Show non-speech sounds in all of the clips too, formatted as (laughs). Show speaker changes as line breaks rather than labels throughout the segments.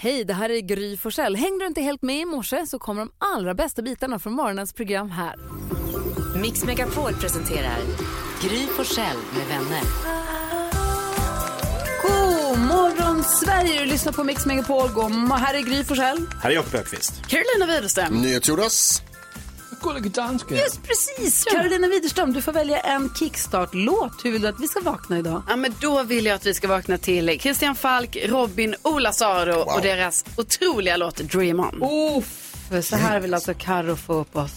Hej, det här är Gry Forssell. Hängde du inte helt med i morse så kommer de allra bästa bitarna från morgonens program här.
Mix Megapol presenterar Gry Forssell med vänner.
God morgon Sverige, du lyssnar på Mix Megapol. God mo- här är Gry Forssell.
Här är Jakob Ökvist.
Carolina Widerström.
NyhetsJonas.
Gullige danske.
Just precis, Carolina Widerström. Du får välja en kickstart-låt. Hur vill du att vi ska vakna idag?
Ja, men då vill jag att vi ska vakna till Christian Falk, Robin Olasaro och deras otroliga låt Dream On.
Oh, Uff, så här vill alltså Carro få upp oss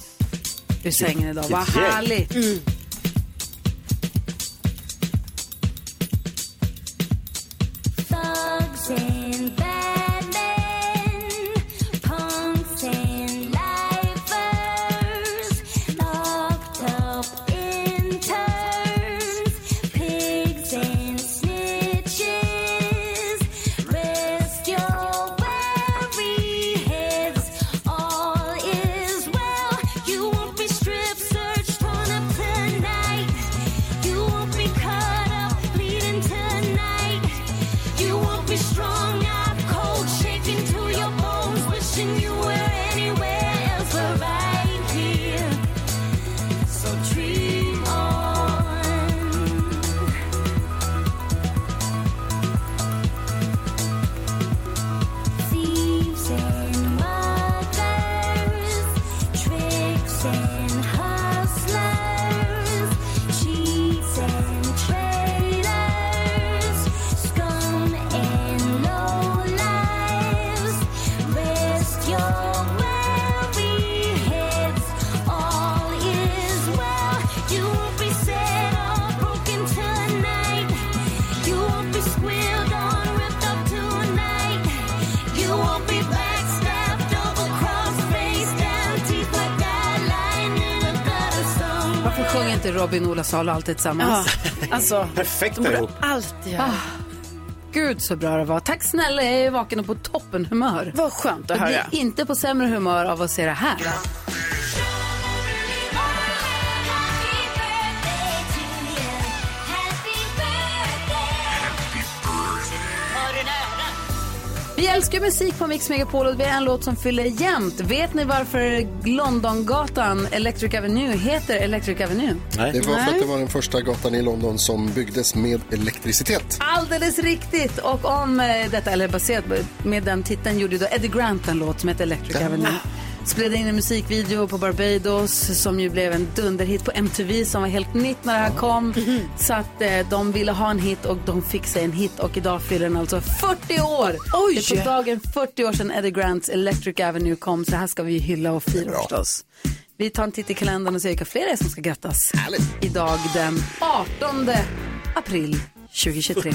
ur sängen idag. Vad
gäng.
härligt.
Thugs and bad men, punks and lifers, locked up interns, pigs and snitches. Rest your weary heads, all is well. You won't be strip searched, torn up tonight. You won't be cut up, bleeding tonight. You won't be strong out cold, shaking to your bones, wishing you were anywhere else but right here. So dream on. Thieves and muggers, tricks and hustlers, cheats and traitors, scum and low lives. Rest your weary heads, all is well. You won't be set or broken tonight. You won't be squealed on, ripped up tonight. You won't be backstabbed, double-crossed, face down, teeth like that, lying in a gutter somewhere.
Varför sjunger inte Robin, Ola Salo alltid tillsammans?
alltså,
Perfekt
de borde
ihop.
alltid
Ah,
göra.
Gud så bra det var. Tack snälla, jag är vaken och på toppen humör.
Vad skönt att
Jag
höra.
blir inte på sämre humör av att se det här. Vi älskar ju musik på Mix Megapol och det är en låt som fyller jämnt. Vet ni varför Londongatan, Electric Avenue, heter Electric Avenue?
Det var för att det var den första gatan i London som byggdes med elektricitet.
Alldeles riktigt! Och om eh, detta, eller baserat på- med den titeln, gjorde ju då Eddie Grant en låt som heter Electric Avenue. Spelade in en musikvideo på Barbados som ju blev en dunderhit på MTV som var helt nytt när det här kom. Så att eh, de ville ha en hit och de fick sig en hit och idag fyller den alltså 40 år!
Oj!
Det är på dagen 40 år sedan Eddie Grants Electric Avenue kom så här ska vi ju hylla och fira förstås. Vi tar en titt i kalendern och ser vilka fler det är som ska grattas.
Härligt.
Idag den 18 april 2023.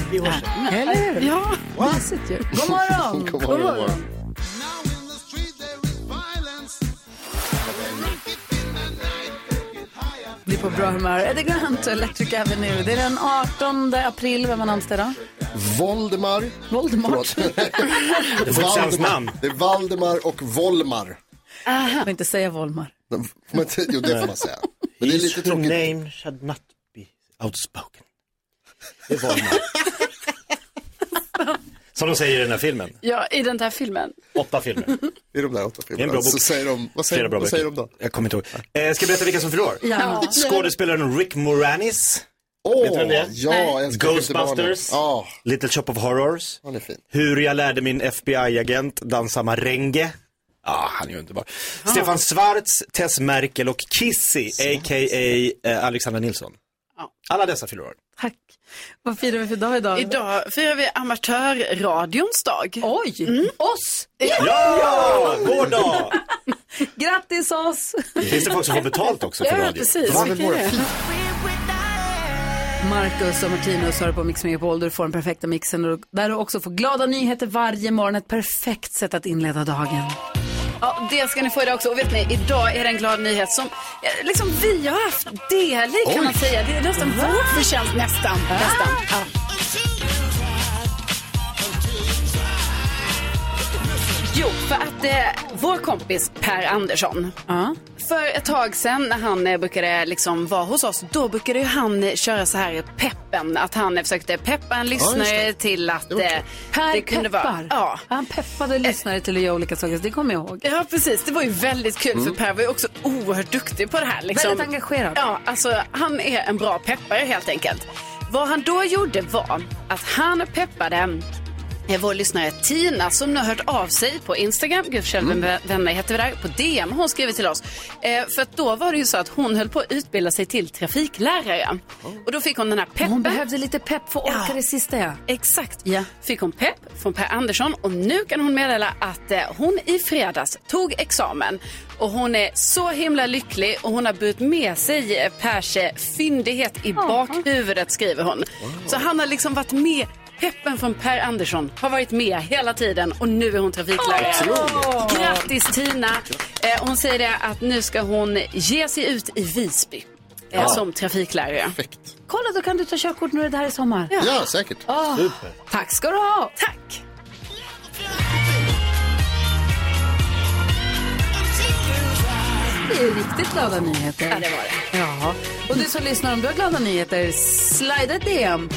Eller hur?
Ja.
Mysigt ju. God morgon!
God morgon, god morgon.
Bli på bra humör. Eddie Grant och Electric Avenue. Det är den 18 april. Vem har namnsdag då?
Voldemar.
Voldemort. (laughs)
Förlåt.
Det får inte ens namn.
Det är Valdemar och Volmar.
Jag får inte säga Volmar.
De- får man inte- Jo, det får man säga. Men det är
His
lite tråkigt.
name should not be outspoken. Det var man. Som de säger i den här filmen.
ja, i den där filmen.
Åtta filmer.
I de där åtta
Det är en
filmerna.
bra bok.
Så säger de, vad
Flera
säger,
bra
vad säger de
böcker.
då?
Jag kommer inte ihåg. Eh, ska jag berätta vilka som förlorar?
Ja.
Skådespelaren Rick Moranis. Vet du
Åh,
vem det är?
ja, jag ska inte barnen.
Ghostbusters.
Ja,
Little Shop of Horrors.
Ah. han är fin.
Hur jag lärde min FBI-agent dansa marenge. Ja, han är ju underbar. Stefan Schwarz, Tess Merkel och Kissy, a.k.a. eh, Alexandra Nilsson.
Ja.
Alla dessa fyller år.
Tack. Vad firar vi för dag idag?
Idag firar vi amatörradions dag. Mm.
Oj! Oss!
Ja! Vår dag!
Grattis oss!
Finns det folk som får betalt också för
Ja,
radio?
precis.
Det var väl våra
Marcus och Martinus hör på Mix Megapol där du får den perfekta mixen och där du också får glada nyheter varje morgon. Ett perfekt sätt att inleda dagen.
Ja, det ska ni få idag också. Och vet ni, idag är det en glad nyhet som eh, liksom vi har haft del i kan man säga. Det är nästan vår förtjänst nästan.
Ah.
nästan. Ja. Jo, för att eh, vår kompis Per Andersson
Ja.
för ett tag sedan när han eh, brukade liksom vara hos oss, då brukade ju han eh, köra så här peppen. Att han eh, försökte peppa en lyssnare till att eh,
Per
det kunde
peppar.
vara... Ja.
Han peppade lyssnare till att göra olika saker, så det kommer jag ihåg.
ja, precis. Det var ju väldigt kul för Per var ju också oerhört duktig på det här. Liksom.
Väldigt engagerad.
Ja, alltså han är en bra peppare helt enkelt. Vad han då gjorde var att han peppade eh, vår lyssnare Tina som nu har hört av sig på Instagram, Gud för
Mm.
själv, vem- vänner heter vi där, på DM hon skriver till oss. Eh, för att då var det ju så att hon höll på att utbilda sig till trafiklärare. Och då fick hon den här peppen.
Hon behövde lite pepp för att orka
Ja.
det sista, ja.
Exakt.
Ja.
Fick hon pepp från Per Andersson och nu kan hon meddela att eh, hon i fredags tog examen. Och hon är så himla lycklig och hon har burit med sig eh, Pers eh, fyndighet i bakhuvudet skriver hon. Så han har liksom varit med Peppen från Per Andersson har varit med hela tiden och nu är hon trafiklärare. Grattis Tina! Eh, hon säger det att nu ska hon ge sig ut i Visby eh, som trafiklärare.
Perfekt.
Kolla, då kan du ta körkort när du är där i sommar. Ah.
Ja, säkert.
Tack ska du ha!
Tack!
Det är riktigt glada nyheter.
Ja, det var det.
Ja, och du som lyssnar om du har glada nyheter, slida ett
(laughs)
DM.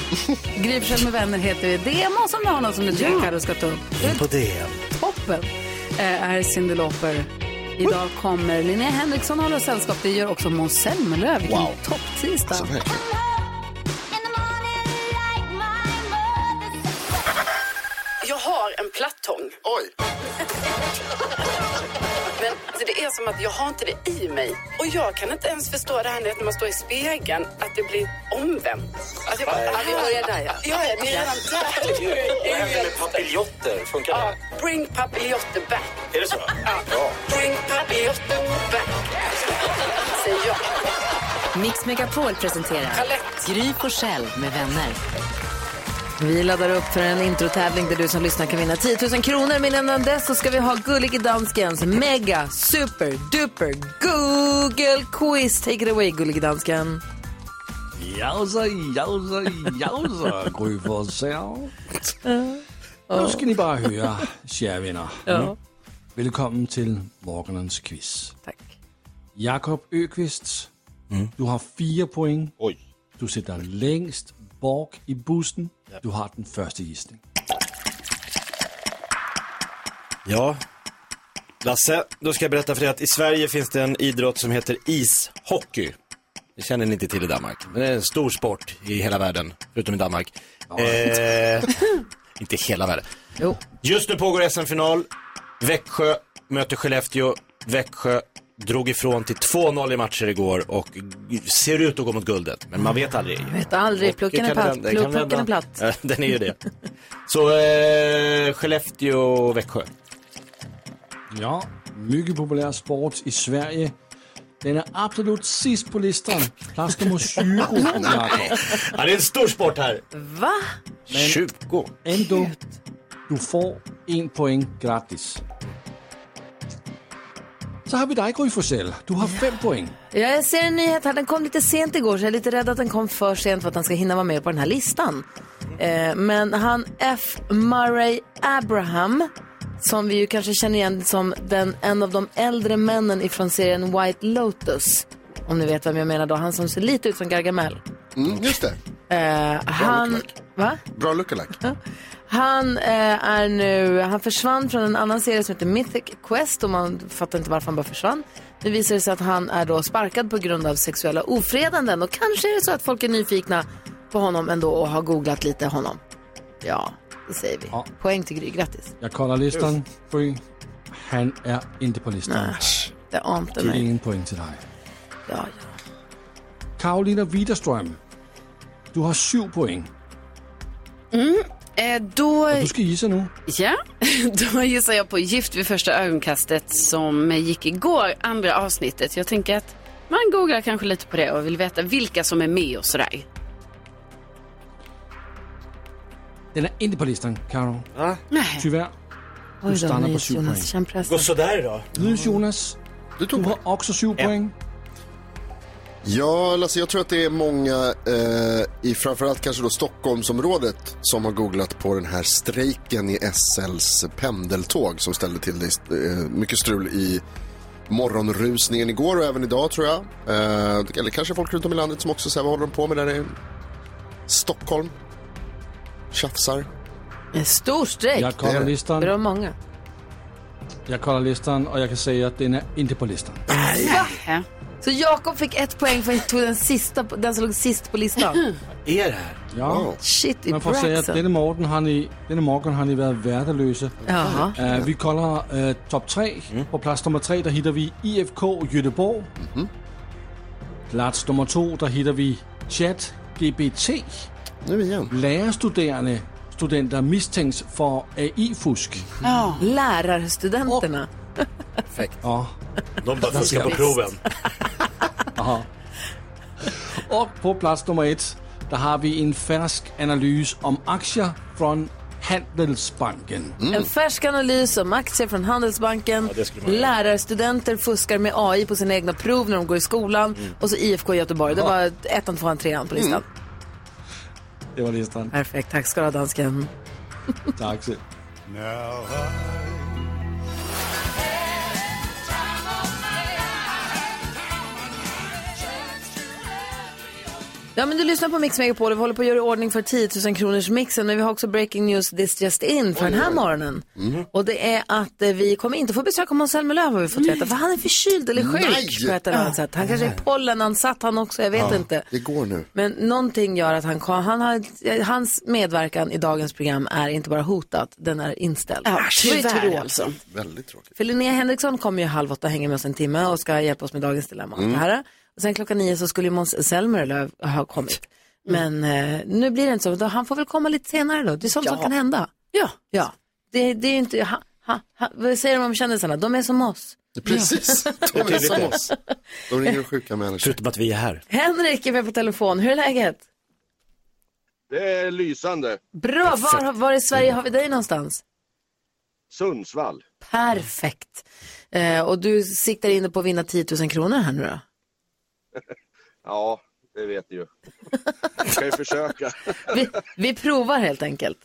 Gry Forssell med vänner heter vi. DM oss om du har något som du tycker Carro ska ta upp.
På DM.
Toppen eh, är Cyndi Lauper. Idag kommer Linnea Henriksson och håller oss sällskap. Det gör också Måns Zelmerlöw. Vilken
Wow.
topptisdag.
Så verkligen.
Jag har en plattång.
Oj.
Men alltså, det är som att jag har inte det i mig. Och jag kan inte ens förstå det här när man står i spegeln, att det blir omvänt. Alltså, jag bara, ja, vi börjar där ja. Ja, ja, ni är redan där. Det är ju-
Även med papiljotter, funkar
Ja,
det?
bring papiljotter back.
Är det så? Ja.
Bring papiljotter back. Säger jag.
Mix Megapol presenterar
Palett.
Gry Forssell med vänner.
Vi laddar upp för en introtävling där du som lyssnar kan vinna 10 000 kronor. Men innan dess så ska vi ha gullig danskens mega super duper Google quiz. Take it away gullig dansken.
Jausa, jausa, jausa, Gry Forssell. Nu skal ni bare høre, kære venner.
Ja.
Velkommen til morgenens quiz.
Tak.
Jakob Økvist, du har fire point.
Mm. Oj.
Du sitter længst bort i bussen. Du har den første gissning.
Ja. Lasse, då ska jag berätta för dig att i Sverige finns det en idrott som heter ishockey. Det känner ni inte till i Danmark. Men det är en stor sport i hela världen, förutom i Danmark. Eh, inte hela världen.
(laughs) Jo.
Just nu pågår SM-final. Växjö möter Skellefteå. Växjö drog ifrån till 2-0 i matcher igår och g- ser ut att gå mot guldet. Men man vet aldrig.
Vet aldrig, plucken är
Kan det
platt.
vända? Kan det
Plucken
vända?
är platt.
Ja, (laughs) Den är ju det. Så eh, Skellefteå och Växjö.
Ja, mycket populær sport i Sverige. Den er absolut sidst på listen. Plads
(laughs)
nummer 20, Jakob.
Ja, det är en stor sport här.
Va?
20.
Ändå, du får en poäng gratis. Så har vi dig, Gry Forssell. Du har fem poäng.
Ja, jag ser en nyhet här. Den kom lite sent igår så jag är lite rädd att den kom för sent för att han ska hinna vara med på den här listan. Eh, men han F. Murray Abraham, som vi ju kanske känner igen som den, en av de äldre männen ifrån serien White Lotus. Om ni vet vem jag menar då. Han som ser lite ut som Gargamel.
Mm, just det.
Eh, han...
lookalike.
Va?
Bra lookalike.
Han eh, är nu, han försvann från en annan serie som heter Mythic Quest och man fattar inte varför han bara försvann. Nu visar det sig att han är då sparkad på grund av sexuella ofredanden och kanske är det så att folk är nyfikna på honom ändå och har googlat lite honom. Ja, det säger vi.
Ja.
Poäng till Gry, grattis.
Jag kollar listan. Gry, han är inte på listan.
Det ante
Det är
mig.
ingen poäng till dig.
Ja, ja.
Karolina Widerström. Du har sju poäng.
Mm,
Eh, då...
Du ska gissa nu.
Ja, (laughs) då gissar jag på Gift vid första ögonkastet som gick igår, andra avsnittet. Jag tänker att man googlar kanske lite på det och vill veta vilka som är med och sådär.
Den är inte på listan, Karo.
Nej.
Tyvärr. Du stannar på sju poäng.
Jonas, känn pressen.
Gå sådär idag.
Nu Jonas.
Du
Du
tog
har också sju poäng.
Ja, Lasse, jag tror att det är många eh, i framförallt kanske då Stockholmsområdet som har googlat på den här strejken i SLs pendeltåg som ställde till det, eh, mycket strul i morgonrusningen igår och även idag tror jag. Eh, eller kanske folk runt om i landet som också säger vad håller de på med där i Stockholm? Tjafsar.
En stor strejk.
Jag kollar listan.
Bra många.
Jag kollar listan och jag kan säga att den är inte på listan.
Ja.
Så Jakob fick ett poäng för att han tog den, sista, den som låg sist på listan.
Är det här?
Ja.
Shit i
Man får säga att
Braxen.
denne morgen har ni, denne morgen har ni været værdeløse.
Jaha.
Uh, vi kolder øh, top 3. På plads nummer 3, der hitter vi IFK Göteborg. Plats nummer 2, der hitter vi Chat GBT.
Nu igen.
Lærerstuderende studenter mistænks for AI-fusk.
Lärarstudenterna.
Og,
De bara fuskar på proven.
(laughs) og på plads nummer 1, der har vi en fersk analyse om aktier fra Handelsbanken.
Mm. En färsk analys om aktier från Handelsbanken.
Mm. det skulle man göra.
Lärarstudenter fuskar med AI på sina egna prov när de går i skolan.
Mm.
Och så IFK Göteborg. Det var ettan, tvåan, trean på listan.
Det var listan.
Perfekt. Tack ska du ha, dansken.
Tak selv.
(laughs)
Mm.
Ja, men du lyssnar på Mix Megapol. Vi håller på att göra i ordning för 10 000 kronors mixen. Men vi har också breaking news this just in för den här morgonen.
Mm.
Och det är att eh, vi kommer inte få besök av Måns Zelmerlöw har vi fått veta. För han är förkyld eller sjuk
Nej!
på ett eller
Ah.
annat sätt. Han kanske är pollenansatt han också, jag vet inte.
Det går nu.
Men någonting gör att han, kan, han har, eh, hans medverkan i dagens program är inte bara hotad, den är inställd.
Ja,
Det var ju
tyvärr
tråkigt.
alltså.
Väldigt tråkigt.
För Linnea Henriksson kommer ju halv åtta hänga med oss en timme och ska hjälpa oss med dagens dilemma.
Mm.
och allt Det här. Och sen klockan nio så skulle ju Måns Zelmerlöw ha kommit.
Mm.
Men eh, nu blir det inte så. Då- Han får väl komma lite senare då. Det är sånt som kan hända.
Ja.
Ja. Det, det är ju inte... Ha, ha, ha, vad säger de om kändisarna? De är som oss. (laughs)
Precis. De är som oss. De ringer och sjuka människor.
Förutom att vi är här.
Henrik är med på telefon. Hur är läget?
Det är lysande.
Bra. Var, var i
Mm.
Sverige har vi dig någonstans?
Sundsvall.
Perfekt. Eh, och du siktar in på att vinna 10 000 kronor här nu då? (laughs)
Ja, det vet ni ju. Jag kan ju försöka.
(laughs) Vi, vi provar helt enkelt.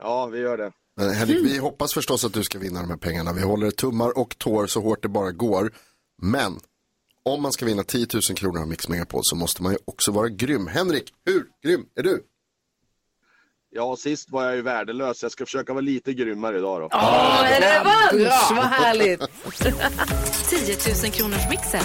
Ja, vi gör det.
Men Eh, Henrik, vi hoppas förstås att du ska vinna de här pengarna. Vi håller tummar och tår så hårt det bara går. Men om man ska vinna 10 000 kronor av Mix Megapol så måste man ju också vara grym. Henrik, hur grym är du?
Ja, sist var jag ju värdelös. Jag ska försöka vara lite grymmare idag då.
Åh, är det Vad härligt.
10 000 kronors mixen.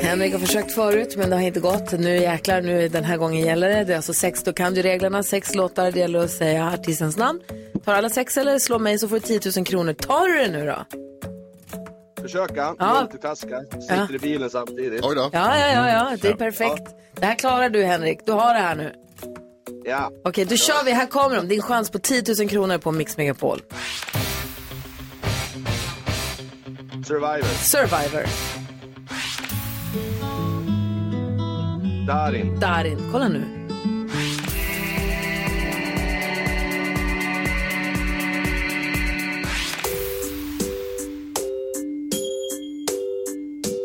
Henrik har försökt förut men det har inte gått. Nu jäklar, nu den här gången gäller det. Det är alltså sex, då kan du reglerna. Sex låtar, det gäller att säga artistens namn. Tar alla sex eller slå mig så får du 10 000 kronor. Tar du det nu då?
Försöka,
Ja.
multitaska. Sitter i bilen samtidigt.
Oj då.
Ja, ja, ja, ja. det är perfekt. Det här klarar du Henrik, du har det här nu.
Ja.
Okej, då kör vi. Här kommer de. Din chans på 10 000 kronor på Mix Megapol.
Survivor.
Survivor,
Darin.
Darin. Kolla nu.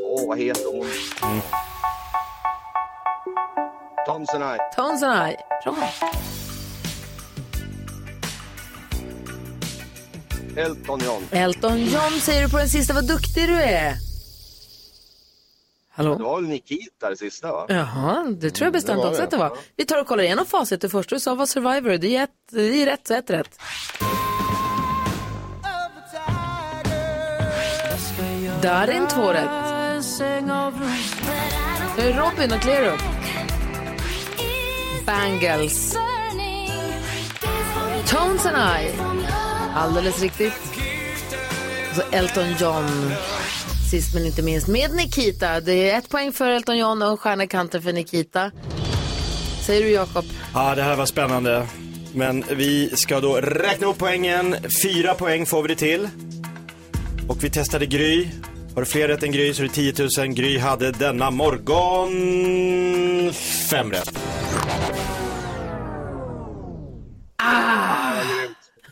Åh, vad heter hon?
Mm.
Thompson Eye.
Tones and I. Bra.
Elton John.
Elton John säger du på den sista. Vad duktig du är. Hallå? Eh.
Det var väl Nikita det sista va?
Jaha, det tror jag bestämt
var
också
det.
att det var. Vi tar och kollar igenom facit. Det första du sa var Survivor. Det är, ett, det är rätt, så ett rätt. Darin, två rätt. Nu är Robin och Clear Up. Bangles. Tones and I. Alldeles riktigt. Och så Elton John. Sist men inte minst med Nikita. Det är ett poäng för Elton John och en stjärna i kanten för Nikita. Säger du Jakob?
Ja, det här var spännande. Men vi ska då räkna upp poängen. Fyra poäng får vi det till. Och vi testade Gry. Har du fler rätt än Gry så är det 10 000. Gry hade denna morgon fem rätt.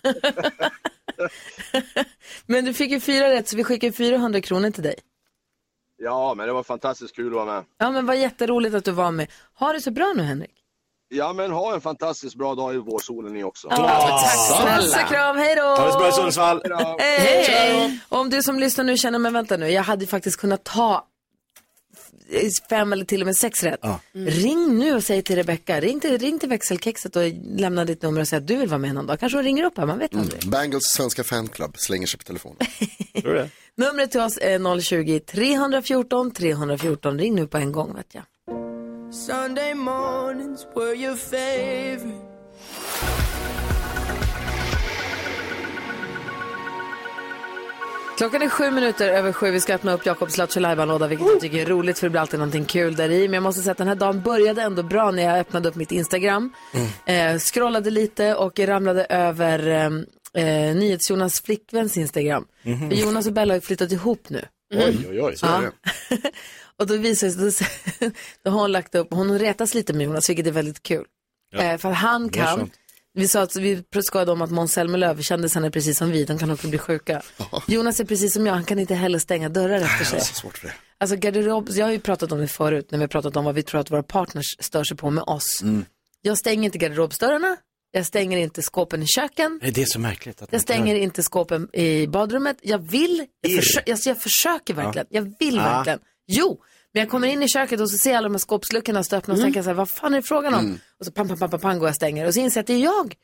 (laughs) Men du fick ju fyra rätt så vi skickar 400 kronor till dig.
Ja, men det var fantastiskt kul att vara med.
Ja men vad jätteroligt att du var med. Ha det så bra nu Henrik.
Ja, men ha en fantastiskt bra dag i vårsolen ni också.
Ah. Puss och kram, hej då!
Ha det så bra i Sundsvall.
Hej!
Hej
Om du som lyssnar nu känner, men vänta nu, jag hade ju faktiskt kunnat ta fem eller till och med sex rätt. Mm. Ring nu och säg till Rebecca, ring till, ring till växelkexet och lämna ditt nummer och säg att du vill vara med någon dag. Kanske hon ringer upp här, man
Mm.
vet aldrig.
Bangles svenska fanclub slänger sig på telefonen.
Tror det?
Numret till oss är 020-314 314. Ring nu på en gång vet jag.
Sunday mornings were your favorite.
Klockan är sju minuter över sju. Vi ska öppna upp Jakobs Lattjo låda vilket jag tycker är roligt för det blir alltid någonting kul där i. Men jag måste säga att den här dagen började ändå bra när jag öppnade upp mitt Instagram. Eh, scrollade lite och ramlade över eh, eh, NyhetsJonas flickväns Instagram.
Mhm.
För Jonas och Bella har ju flyttat ihop nu.
Oj, oj, oj, så är det.
och då visar det sig, (laughs) då har hon lagt upp, hon retas lite med Jonas vilket är väldigt kul.
Ja.
Eh, för att han
Det är
kan,
sant.
vi sa att vi skojade om att Måns Zelmerlöw, kändisarna är precis som vi, de kan också bli sjuka. Jonas är precis som jag, han kan inte heller stänga dörrar efter sig.
svårt för det.
Alltså garderob, jag har ju pratat om det förut när vi har pratat om vad vi tror att våra partners stör sig på med oss.
Mm.
Jag stänger inte garderobsdörrarna, jag stänger inte skåpen i köken,
Nej, det är så märkligt. Att man
jag stänger
gör det.
inte skåpen i badrummet. Jag vill, jag,
Irr.
försö- jag, jag försöker verkligen.
Ja.
Jag vill
Ah.
verkligen. Jo, men jag kommer in i köket och så ser jag alla de här skåpsluckorna stå
Mm.
öppna och så tänker jag så här, vad fan är det frågan om?
Mm.
Och så pang, pang, pang, pang, pang går jag och stänger och så inser jag att det är jag.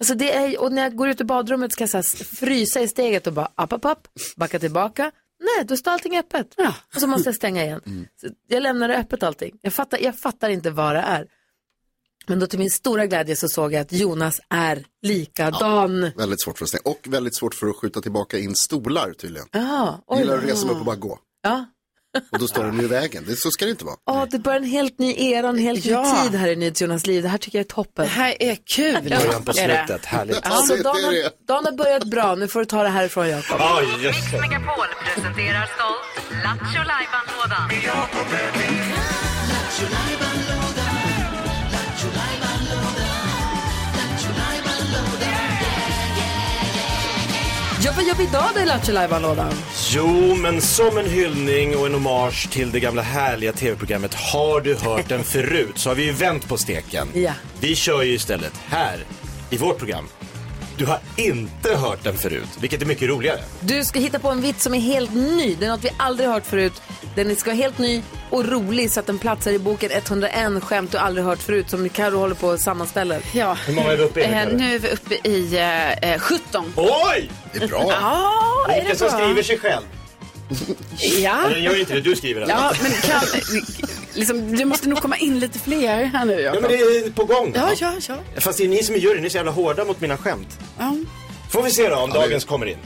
Alltså det är, och när jag går ut ur badrummet ska jag så här frysa i steget och bara app, app, app, backa tillbaka. Nej, då står allting öppet. Och så måste jag stänga igen. Så jag lämnar det öppet allting. Jag fattar, jag fattar inte vad det är. Men då till min stora glädje så såg jag att Jonas är likadan.
Väldigt svårt för att stänga. Och väldigt svårt för att skjuta tillbaka in stolar tydligen.
Ja, oj.
Gillar att resa mig upp och bara gå.
Ja.
Och då står de ju i vägen. Det, så ska det inte vara.
Ja, det börjar en helt ny era, en helt
Ja.
ny tid här i NyhetsJonas liv. Det här tycker jag är toppen. Det
här är kul.
Början på slutet, härligt.
Alltså,
Ja, det är
dagen, har,
det.
dagen har börjat bra, nu får du ta det härifrån Jakob.
Oj, just det.
Megapol presenterar stolt Lattjo Lajban-lådan.
Ja, vad gör vi idag då i Lattjo lådan
Jo, men som en hyllning och en hommage till det gamla härliga tv-programmet Har du hört den förut? Så har vi ju vänt på steken.
Ja.
Vi kör ju istället här i vårt program. Du har inte hört den förut, vilket är mycket roligare.
Du ska hitta på en vits som är helt ny. Det är något vi aldrig hört förut. Den ska vara helt ny och rolig så att den platsar i boken 101 skämt du aldrig hört förut som Karo håller på och sammanställer.
Ja.
Hur många är vi uppe i nu,
Eh,
Karin?
nu är vi uppe i eh, eh, 17.
Oj! Det är bra.
Ja, är
Vilken
det
som
bra?
skriver sig själv.
Ja.
Eller gör inte det, du skriver den.
Ja, men kan, (laughs) liksom, du måste nog komma in lite fler här nu.
Ja, men det är på gång.
Ja, ja, ja.
Fast det är ni som är juryn, ni är så jävla hårda mot mina skämt.
ja.
Får vi se då om dagens kommer in.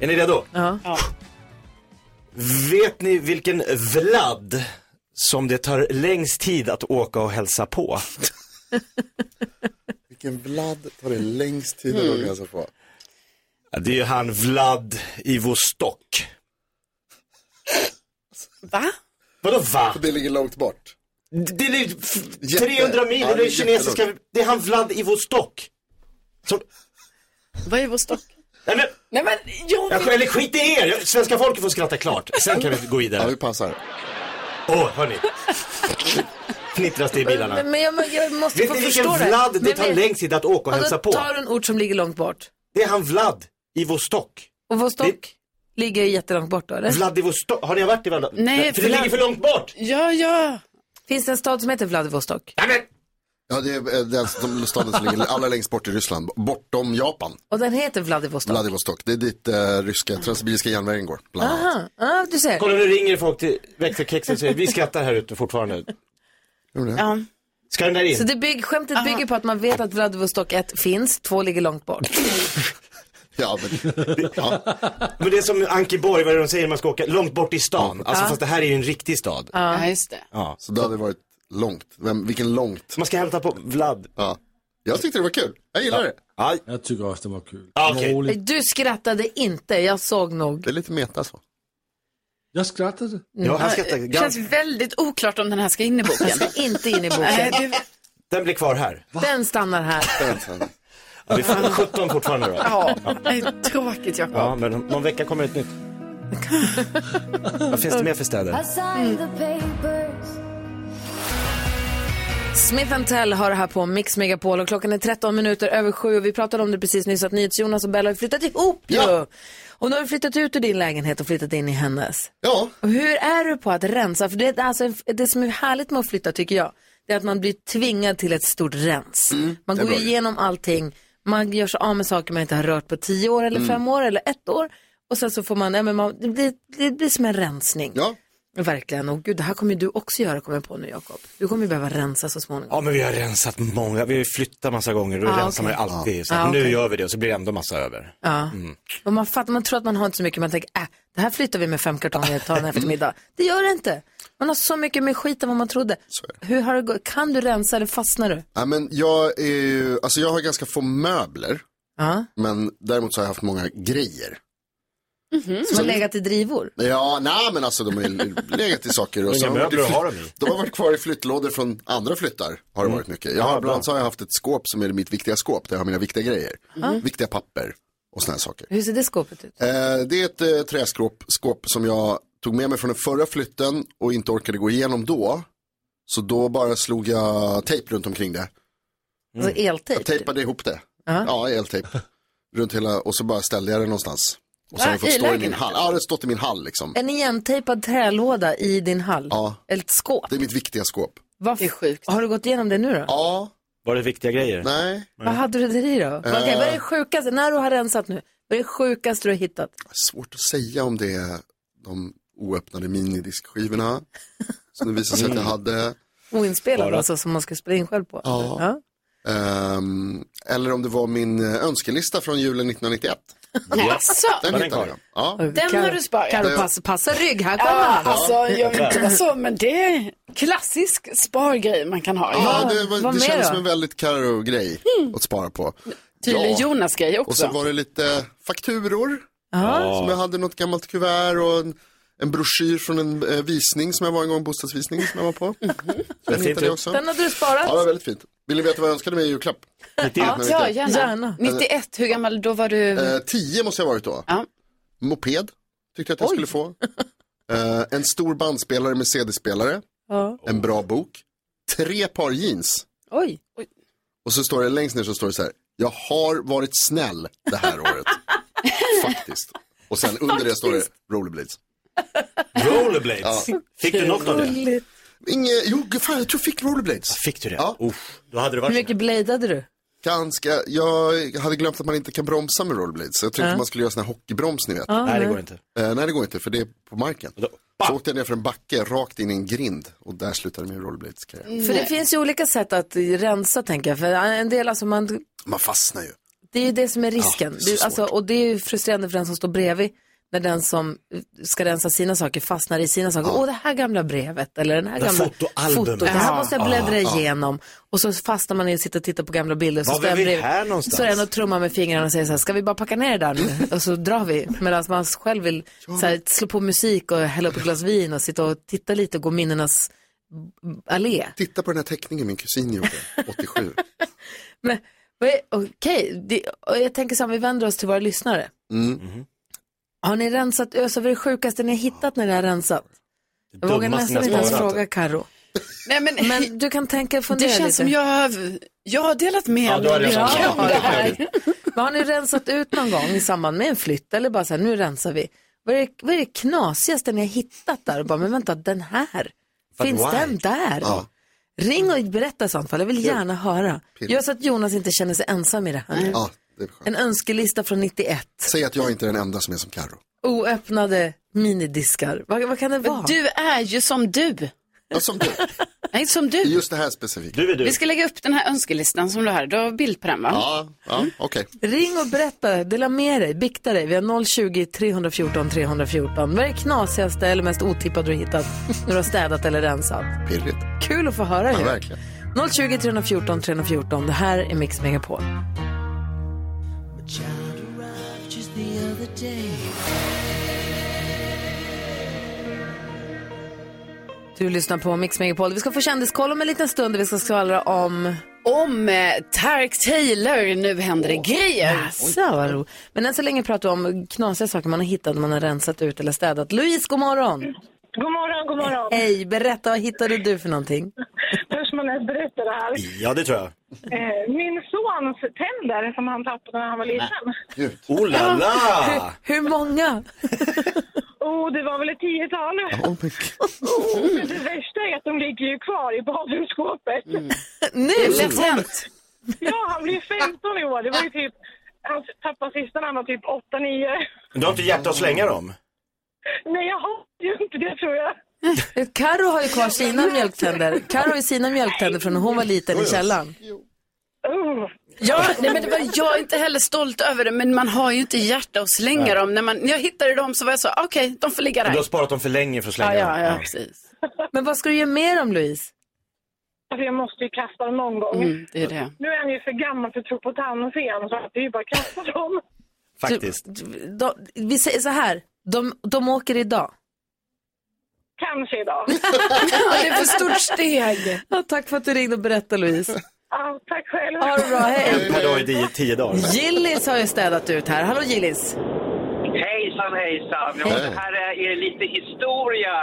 Är ni redo?
Ja.
Vet ni vilken Vlad som det tar längst tid att åka och hälsa på?
Vilken bladd tar det längst tid att
Mm.
mm. organisa på?
Ja, Det är ju han Vlad Ivostok.
Va?
Vadå va?
Det ligger långt bort.
Det är
Jätte-
300 mil,
Ja,
det är
jättelångt.
kinesiska, det är han Vlad Ivostok.
Vad är vår stock?
Nej men,
Nej, men jag...
jag, eller skit i er, Jag- svenska folket får skratta klart. Sen kan vi gå vidare. Ja, vi
passar.
Åh, hörni. Fnittras det i bilarna.
Men, men jag, jag måste
Vet
få
ni
förstå
vilken
det.
Vlad det
Men
tar
vi-
längst tid att åka och
Ja,
hälsa
Då
på?
tar du en ort som ligger långt bort.
Det är han Vlad i Vostok.
Och Vostok ligger jättelångt bort då, eller?
Vladivostok, har ni varit i Vladivostok?
Nej,
för det
Vlad-
ligger för långt bort.
Ja, ja.
Finns det en stad som heter Vladivostok?
Ja, det är eh, den som- de staden som ligger allra längst bort i Ryssland, bortom Japan.
Och den heter Vladivostok?
Vladivostok, det är dit eh, ryska transsibiriska järnvägen går. Bland annat.
Aha, ja, du ser.
Kolla nu ringer folk till växelkexet och säger vi skrattar här ute fortfarande.
Ja.
Ska den där in?
Så det bygg, skämtet bygger på att man vet att Vladivostok 1 finns, 2 ligger långt bort.
Ja, men...
Men det är som Anki Borg, vad är det de säger, man ska åka långt bort i stan. Alltså
Ja.
fast det här är ju en riktig stad.
Ja, just det.
Ja.
Så då hade det varit långt. Vem, vilken långt?
Man ska hämta på Vlad.
Ja. Jag tyckte det var kul. Jag gillar det.
Jag tycker också det var kul.
Ah, okej.
Du skrattade inte, jag såg nog.
Det är lite meta så.
Jag skrattade.
Mm.
Mm. Det känns väldigt oklart om den här ska in i boken.
Den ska inte in i boken.
Nej, du...
Den blir kvar här.
Den stannar här.
Ja, vi får 17 fortfarande då.
Ja, det är tråkigt Jakob.
Ja, men om någon vecka kommer ett nytt.
Mm.
Vad finns det mer för städer?
I signed the papers.
Smith Tell har det här på Mix Megapol och klockan är 13 minuter över sju och vi pratade om det precis nyss att NyhetsJonas och Bella har flyttat ihop ju. Och nu har du flyttat ut ur din lägenhet och flyttat in i hennes.
Ja.
Och hur är du på att rensa? För det, är alltså, en- det som är härligt med att flytta tycker jag, det är att man blir tvingad till ett stort rens. man
det är
går
bra ju.
igenom allting, man gör sig av med saker man inte har rört på tio år eller
Mm.
fem år eller ett år. Och sen så får man, nej, men man det, blir, det blir som en rensning.
Ja.
Verkligen, och gud det här kommer ju du också göra kommer jag på nu Jakob. Du kommer ju behöva rensa så småningom.
Ja men vi har rensat många, vi har ju flyttat massa gånger och då
Ah,
rensar man ju
okej.
alltid. Så
Ah,
att nu
okej.
gör vi det och så blir det ändå massa över.
Ja.
Mm.
Och man, fattar, man tror att man har inte så mycket, man tänker äh, det här flyttar vi med fem kartonger och tar
(laughs)
en eftermiddag. Det gör det inte. Man har så mycket mer skit än vad man trodde. Hur har det gått? Kan du rensa eller fastnar du?
Ja, men jag, är ju, alltså jag har ganska få möbler. Men däremot så har jag haft många grejer.
Som har legat i drivor?
Ja, nej men alltså de har ju legat i saker.
Inga
så de varit
möbler
flytt-
har de ju.
De har varit kvar i flyttlådor från andra flyttar. Har det
Mm.
varit mycket. Jag har,
Ja,
bland
bra.
annat så har jag haft ett skåp som är mitt viktiga skåp. Där jag har mina viktiga grejer.
Mm.
Viktiga papper och sådana saker.
Hur ser det skåpet ut?
Eh, det är ett eh, träskåp skåp som jag tog med mig från den förra flytten och inte orkade gå igenom då. Så då bara slog jag tejp runt omkring det.
Alltså eltejp?
Jag tejpade ihop det.
Ja.
Ja, eltejp. runt hela, och så bara ställde jag det någonstans. Och så
Va?
har det fått
I
stå i min
lägenheten?
hall. Ja, det har stått i min hall liksom.
En igentejpad trälåda i din hall?
Ja.
Ett skåp?
Det är mitt viktiga skåp.
Vad det är sjukt. Har du gått igenom det nu då?
Ja.
Var det viktiga grejer?
Nej. Eh.
Vad hade du det i då? Okej, vad är det sjukaste, när du har rensat nu, vad är det sjukaste du har hittat?
Svårt att säga om det är de oöppnade
(laughs)
minidiskskivorna. Som det visade sig att jag
Mm.
hade.
Oinspelat
Bara.
alltså, som man ska spela in själv på?
Ja.
ja.
Ehm, eller om det var min eh, önskelista från julen 1991.
(laughs)
Jaså?
Den
Var den
hittade
kvar?
jag. Ja.
Den har du sparat.
Karo, passa, passa rygg, här kommer
Ja,
han.
alltså, jag vet inte vad så, men det är klassisk spargrej man kan ha.
Ja, det, var, det kändes som en väldigt karo grej
Hmm.
att spara på.
Tydligen
Ja.
Jonas grej också.
Och så var det lite fakturor.
Ja.
Som jag hade något gammalt kuvert och en, en broschyr från en eh, visning som jag var en gång, bostadsvisning som jag var på. Så Den hittade jag också.
Den hade du sparat.
Ja, det var väldigt fint. Vill ni veta vad jag önskade mig i julklapp?
Ja, ja, gärna. 91, hur gammal då var du?
Alltså, Eh, tio måste jag ha varit då. Moped tyckte jag att jag skulle få. Eh, en stor bandspelare med CD-spelare.
Ja.
En bra bok. Tre par jeans.
Oj.
Och så står det längst ner så står det så här. Jag har varit snäll det här
(laughs)
året. Faktiskt. Och sen under det står det rollerblades.
Rollerblades? Fick du något av det?
Gulligt.
Inge, jo, gud, fan, jag tror jag fick rollerblades.
Fick du det? Ja. Uff, då hade du
Hur
varit
mycket bladeade du?
Ganska, jag hade glömt att man inte kan bromsa med rollerblades. Jag tyckte
Ja.
man skulle göra sån här hockeybroms ni vet.
Ja, Nej, det nej. går inte.
Eh, nej det går inte för det är på marken. Så åkte jag ner för en backe rakt in i en grind och där slutade min rollerblades karriär.
Mm. För det finns ju olika sätt att rensa tänker jag. För en del, alltså man,
Man fastnar ju.
det är ju det som är risken.
Ja, det är så
du, alltså, och det är ju frustrerande för den som står bredvid. När den som ska rensa sina saker fastnar i sina saker. Åh, det här gamla brevet eller den här
Det här
gamla
fotoalbumet.
Det här
Ja.
måste jag bläddra
Ja, ja.
igenom. Och så fastnar man i att sitta och titta på gamla bilder. och Så
Var
står
var
jag
vi
bredvid.
här någonstans?
Så är den och trummar med fingrarna och säger så här, ska vi bara packa ner det där
(laughs)
nu? Och så drar vi. Medan man själv vill så här, slå på musik och hälla upp ett glas vin och sitta och titta lite och gå minnenas allé.
Titta på den här teckningen min kusin
(laughs)
gjorde, 87.
Men, vad är- okej, det- och jag tänker så här, vi vänder oss till våra lyssnare.
Mm.
Mhm.
Har ni rensat, alltså vad är det sjukaste ni har hittat när ni har rensat? Jag vågar
dummaste
nästan
ni
inte
har
ens
sparat.
fråga Karo.
Nej, men,
Men du kan tänka fundera
det
lite.
känns som jag har, jag har delat med mig av mitt hem det här.
(laughs) Vad har ni rensat ut någon gång i samband med en flytt eller bara så här, nu rensar vi? Vad är, det, vad är det knasigaste ni har hittat där och bara, men vänta, den här?
But
Finns
why?
den där?
Ja.
Ring och berätta i sånt fall, jag vill gärna höra.
Pirr.
Gör så att Jonas inte känner sig ensam i det här. nu.
Ja, det är skönt.
En önskelista från 91.
Säg att jag inte är den enda som är som Carro.
Oöppnade minidiskar. Vad, vad kan det vara?
Du är ju som du.
Ja, som du.
Nej, som du.
Just det här specifikt.
Du är
Vi ska lägga upp den här önskelistan som du har. Du har bild på den va?
Ja, ja okej.
Ring och berätta, dela med dig, bikta dig. Vi har 020-314 314. Vad är det knasigaste eller mest otippade du hittat när du har städat eller rensat?
Pirrigt.
Kul att få höra
Ja,
ju.
verkligen.
020-314 314. Det här är Mix Megapol. Du lyssnar på Mix Megapol. Vi ska få kändiskoll om en liten stund. Vi ska skvallra om...
Om eh, Tarek Taylor. Nu händer det grejer.
Jaså, vad roligt. Men än så länge pratar vi om knasiga saker man har hittat när man har rensat ut eller städat. Louise, god morgon!
God morgon, god morgon.
(laughs)
Hej, berätta vad hittade du för någonting?
Törs man ens
avbryter det här.
Ja, det tror jag.
Eh, Min sons tänder som han tappade när han var liten.
Oh la la!
Hur många?
(laughs) Oh, det var väl ett tiotal. Oh, men det värsta är att de ligger ju kvar i badrumsskåpet.
Mm. Nu?
Lätt
Ja, han blir 15 i år. Det var ju typ... Hans pappa sista när han var typ 8-9.
Du har inte hjärta att slänga dem?
Nej, jag har ju inte det tror jag.
Karo har ju kvar sina mjölktänder. Karo har ju sina mjölktänder från när hon var liten i källaren.
Ja, nej, men det var jag är inte heller stolt över det, men man har ju inte hjärta att slänga
Nej.
dem. När, man, när jag hittade dem så var jag så, okej, de får ligga
Du har
där.
sparat dem för länge för att slänga
Ja, ja,
dem.
ja, precis.
Men vad ska du göra med dem, Louise?
Alltså, jag måste ju kasta dem någon gång.
Mm, det är det.
Nu är han ju för gammal för att tro på tandfen, så att det är ju bara att kasta dem.
Faktiskt.
De, vi säger så här, de, de åker idag.
Kanske
(laughs)
idag.
det är för stort steg.
Ja, tack för att du ringde och berättade, Louise.
Ja, tack själv.
Ha det bra, hej.
En per dag i tio, tio dagar.
Gillis har ju städat ut här. Hallå, Gillis.
Hejsan, hejsan. Ja,
Hej.
det här är lite historia.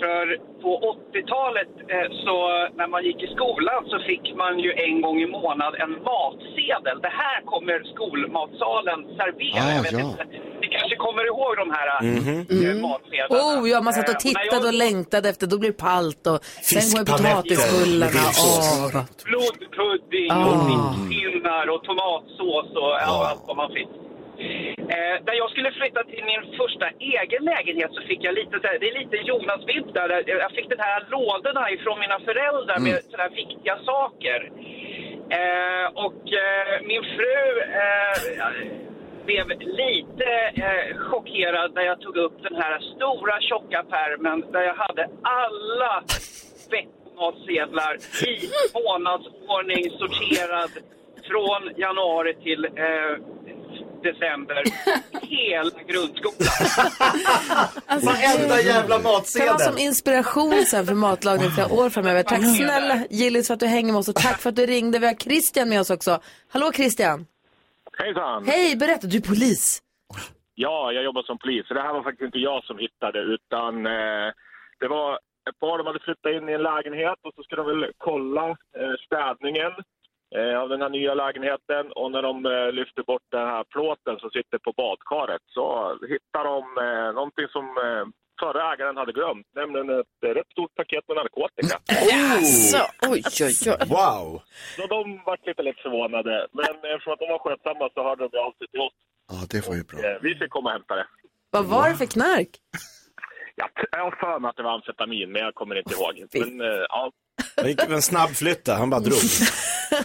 För på 80-talet, eh, så när man gick i skolan, så fick man ju en gång i månaden en matsedel. Det här kommer skolmatsalen servera.
Ah,
Jag vet
ja.
inte. Ni kanske kommer ihåg de här
Mhm.
Mm.
eh, matsedlarna?
Oh, ja, man satt
Eh,
och
när
tittade
jag-
och längtade efter. Då blir det palt och sen går ju potatisbullarna. Åh, vad-
Blodpudding och
Ah.
fiskpinnar och tomatsås och ja, allt vad man fick. Eh, när jag skulle flytta till min första egen lägenhet så fick jag lite så här, det är lite Jonas vibb där. där Jag fick den här lådorna ifrån mina föräldrar med sådana här viktiga saker. Eh, och eh, min fru eh, blev lite eh, chockerad när jag tog upp den här stora tjocka pärmen där jag hade alla veckomatsedlar i månadsordning sorterad från januari till eh,
(laughs)
december. Hela grundskolan.
Varenda jävla
kan vara
matsedel.
som inspiration sen för matlagning flera år framöver. Tack snälla Gillis för att du hänger med oss och tack för att du ringde. Vi har Christian med oss också. Hallå Christian!
Hejsan!
Hej, berätta, du är polis.
Ja, jag jobbar som polis. Så det här var faktiskt inte jag som hittade, utan eh, det var ett par de hade flyttat in i en lägenhet och så skulle de väl kolla eh, städningen eh, av den här nya lägenheten. Och när de eh, lyfter bort den här plåten som sitter på badkaret så hittar de eh, någonting som eh, förra ägaren hade glömt, nämligen ett eh, rätt stort paket med narkotika.
Mm.
Alltså, oj, oj, oj.
Wow!
Så de var lite, lite förvånade, men eftersom att de var skötsamma så hörde de av sig till oss.
Ja, det var ju bra.
Eh, vi fick komma och hämta det.
Vad var det för knark?
Jag t- jag har för mig att det var amfetamin, men jag kommer inte ihåg. Men, eh, ja.
Han gick en snabb flytta, han bara drog.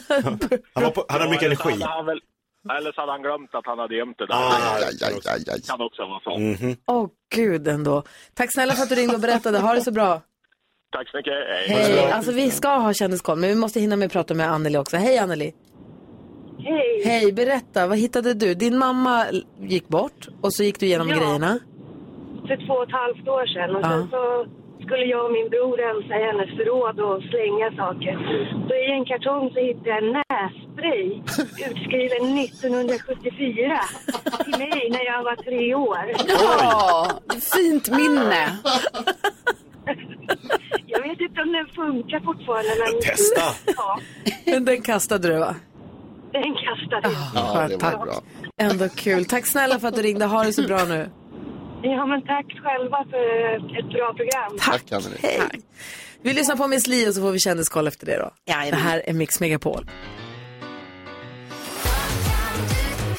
Han, var på, han hade mycket
Eller så
energi. Ah,
hade han väl, eller så hade han glömt att han hade gömt det där.
Aj,
Det kan också vara så.
Mhm.
Åh gud ändå. Tack snälla för att du ringde och berättade. Ha det så bra.
Tack så mycket. Hej.
Hej. Alltså vi ska ha kändiskoll men vi måste hinna med att prata med Anneli också. Hej Anneli!
Hej!
Hej, berätta, vad hittade du? Din mamma l- gick bort och så gick du igenom
Ja.
grejerna.
för två och ett halvt år sedan. Och sen
Ja.
så skulle jag och min bror rensa i hennes förråd och slänga saker. Så i en kartong så hittade jag en nässpray utskriven 1974 till mig när jag var tre år.
Ja, det är fint minne.
Jag vet inte om den funkar fortfarande men...
Testa!
Ja,
Men den kastade du va?
(laughs) den kastade jag.
Ja, det var bra. Ändå kul. Tack snälla för att du ringde. Ha det så bra nu.
Ja, men tack själva för ett bra program.
Tack, Anneli.
Hej. Vi lyssnar på Miss Li och så får vi kändiskoll efter det då. Det här är Mix Megapol.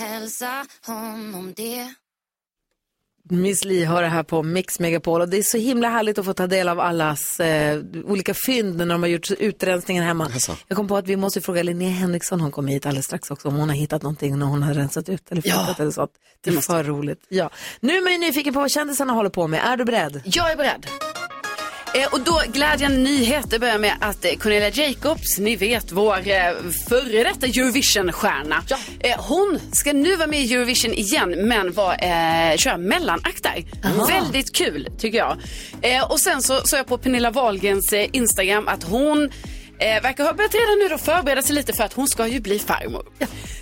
Hälsa honom det.
Miss Li har det här på Mix Megapol och det är så himla härligt att få ta del av allas eh, olika fynd när de har gjort utrensningen hemma. Jag kom på att vi måste fråga Linnea Henriksson, hon kommer hit alldeles strax också, om hon har hittat någonting när hon har rensat ut eller flyttat eller sånt. Det är för roligt. Ja. Nu är man ju nyfiken på vad kändisarna håller på med. Är du beredd?
Jag är beredd. Eh, och då glädjande nyheter börjar med att eh, Cornelia Jacobs, ni vet vår eh, före detta Eurovision-stjärna. Eh, hon ska nu vara med i Eurovision igen men var, eh, köra mellanakt där. Väldigt kul tycker jag. Eh, och sen så såg jag på Pernilla Wahlgrens eh, Instagram att hon eh, verkar ha börjat redan nu då förbereda sig lite för att hon ska ju bli farmor.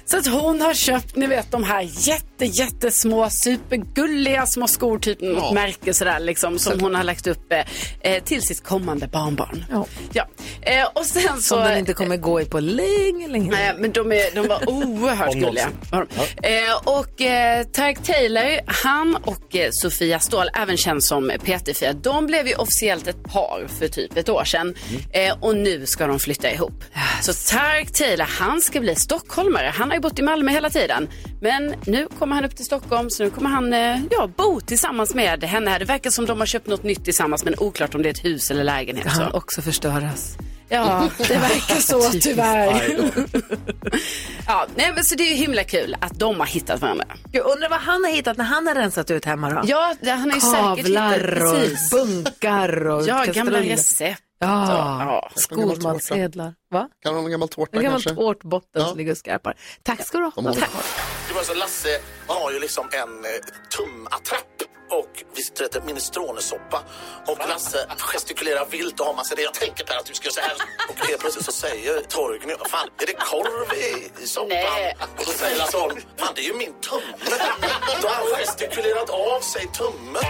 Så att hon har köpt, ni vet de här jätte, jättesmå, supergulliga små skor, typ något
Ja.
märke sådär liksom, som hon har lagt upp eh, eh, till sitt kommande barnbarn. Ja. Eh, och sen så...
Som den inte kommer gå i på länge, länge.
Nej, men de, är, de var oerhört
Om
gulliga.
någonsin.
Var de. Eh, och eh, Tarek Taylor, han och eh, Sofia Ståhl, även känd som PT4, de blev ju officiellt ett par för typ ett år sedan. Eh, och nu ska de flytta ihop. Så Tarek Taylor, han ska bli stockholmare. Han har ju bott i Malmö hela tiden. Men nu kommer han upp till Stockholm, så nu kommer han eh, ja, bo tillsammans med henne här. Det verkar som de har köpt något nytt tillsammans, men oklart om det är ett hus eller lägenhet.
Ska
så.
han också förstöras?
Ja, det verkar
(laughs)
så
Typiskt.
tyvärr. ja, nej, men så det är ju himla kul att de har hittat varandra.
Gud, undrar vad han har hittat när han har rensat ut hemma då?
Ja, det- han har ju säkert
Kavlar
hittat-
och
precis.
bunkar och
Ja,
kastruller.
gamla recept.
Ja,
Ja.
skolmatsedlar. Va?
Kan ha en gammal tårta
En gammal
kanske?
tårtbotten som ligger och skrapar. Tack ska du
De
ha.
håller
Tack.
Det var så Lasse han har ju liksom en eh, tumattrapp och visst heter det minestronesoppa. Och Lasse gestikulerar vilt och har massa det. Jag tänker Per att du ska göra så här. Och helt plötsligt så säger Torgny, "Vad fan är det korv i, i soppan? Och då säger Lasse Holm, fan det är ju min tumme. Då har han gestikulerat av sig tummen.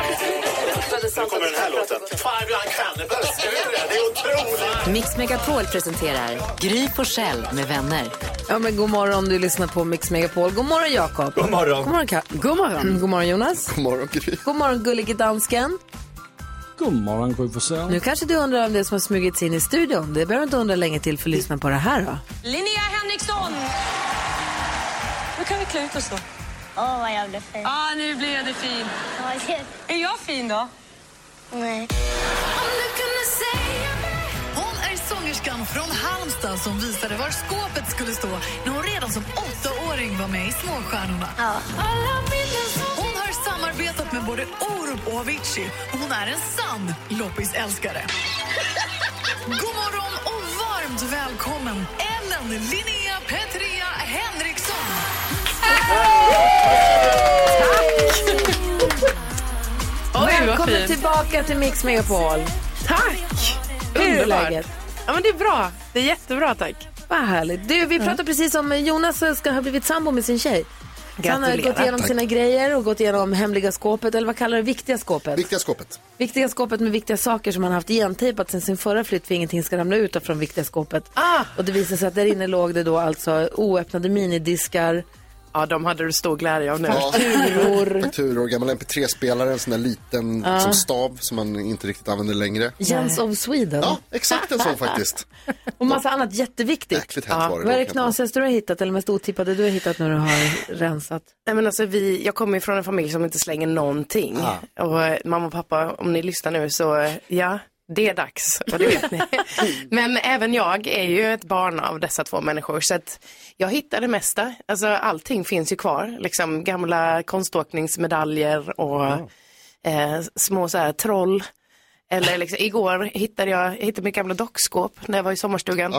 Nu kommer den här låten. Five young cannibals, är det det? Det är otroligt.
Mix Megapol presenterar Gry Forssell med vänner.
Ja, men god morgon, du lyssnar på Mix Megapol. God morgon, Jakob.
God morgon.
God morgon, Ka-
God morgon.
Mm, god morgon Jonas.
God morgon, Gry.
God morgon, gullige dansken.
Godmorgon Gry Forssell.
Nu kanske du undrar om det som har smugits in i studion. Det behöver du inte undra länge till för att lyssna på det här då.
Linnea Henriksson! Nu kan vi klä ut oss då.
Åh, vad jag blev fin.
ah, nu blev du fin. Är jag fin då?
Nej.
Hon är sångerskan från Halmstad som visade var skåpet skulle stå när hon redan som åttaåring var med i Småstjärnorna. Hon har samarbetat med både Orup och Avicii och hon är en sann loppisälskare. God morgon och varmt välkommen Ellen Linnea Petrea Henriksson!
vad
Välkommen
fint.
tillbaka till Mix Megapol.
Tack!
Hur är
Underbart.
läget?
Ja, men det är bra. Det är jättebra, tack.
Vad härligt. Du, vi pratade precis om eh, Jonas ska ha blivit sambo med sin tjej. Han har
Gratulerar.
gått igenom
Tack.
sina grejer och gått igenom hemliga skåpet, eller vad kallar du det? Viktiga skåpet?
Viktiga skåpet.
Viktiga skåpet med viktiga saker som han haft igentejpat sen sin förra flytt för ingenting ska ramla ut från viktiga skåpet.
Ah!
Och det visade sig att där inne låg det då alltså oöppnade minidiskar.
Ja, de hade du stor glädje av nu.
(laughs)
Fakturor.
Fakturor, gammal mp3-spelare, en sån där liten
Ja.
som stav som man inte riktigt använder längre.
Jens of Sweden.
Ja, exakt en sån faktiskt.
(laughs) Och massa annat jätteviktigt.
Äckligt hett var det.
Vad är det
kan jag
knasigaste du har hittat eller mest otippade du har hittat när du har rensat?
Nej, men alltså, vi, jag kommer ju från en familj som inte slänger någonting. Och eh, mamma och pappa, om ni lyssnar nu så, eh, ja, det är dags. (laughs) Och det vet ni. men även jag är ju ett barn av dessa två människor. Så att jag hittar det mesta. Alltså, allting finns ju kvar. Liksom, gamla konståkningsmedaljer och eh, små så här, troll. Eller liksom, igår hittade jag, jag hittade mitt gamla dockskåp när jag var i sommarstugan.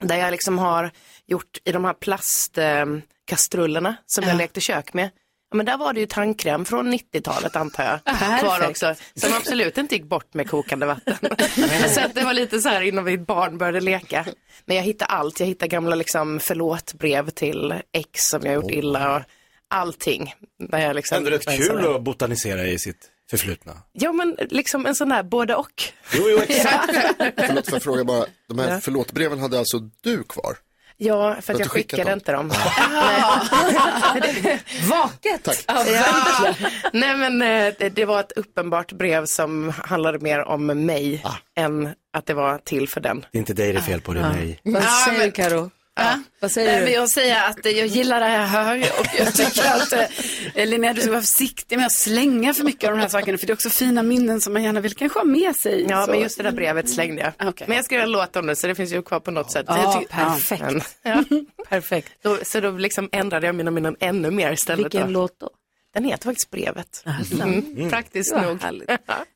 där jag liksom har gjort i de här plastkastrullerna eh, kastrullerna som jag lekte kök med. Ja, men där var det ju tandkräm från 90-talet antar jag. Kvar
Perfekt.
också. Som absolut inte gick bort med kokande vatten. så att det var lite så här innan mitt barn började leka. Men jag hittade allt. Jag hittade gamla liksom förlåtbrev till ex som jag gjort illa och allting. Där jag liksom
Ändå rätt
rensade.
kul att botanisera i sitt förflutna.
Ja men liksom en sån där både och.
Jo, jo, exakt.
Förlåt, för jag fråga bara. De här förlåtbreven hade alltså du kvar?
Ja, för
För
att
att
jag
du skickat
skickade
dem. (laughs)
inte dem.
Vaket!
Tack.
Ja. Nej men eh, det, det var ett uppenbart brev som handlade mer om mig än att det var till för den.
Det är inte dig det är fel på, det är mig.
Vad säger du Karo? Vad
Nej,
säger
men
du?
jag säger att eh, jag gillar det jag hör och
(laughs)
jag tycker att eh, Linnea, du ska vara försiktig med att slänga för mycket av de här sakerna för det är också fina minnen som man gärna vill kanske ha med sig.
Ja,
Så-
men just det där brevet slängde jag. Men jag skrev en låt om det, så det finns ju kvar på något sätt.
Ja,
jag
perfekt.
Men, ja. perfekt. Då, så då liksom ändrade jag mina minnen ännu mer istället.
Vilken
låt då? Den heter faktiskt Brevet. Mm. Praktiskt
Det var
nog. (laughs)
härligt.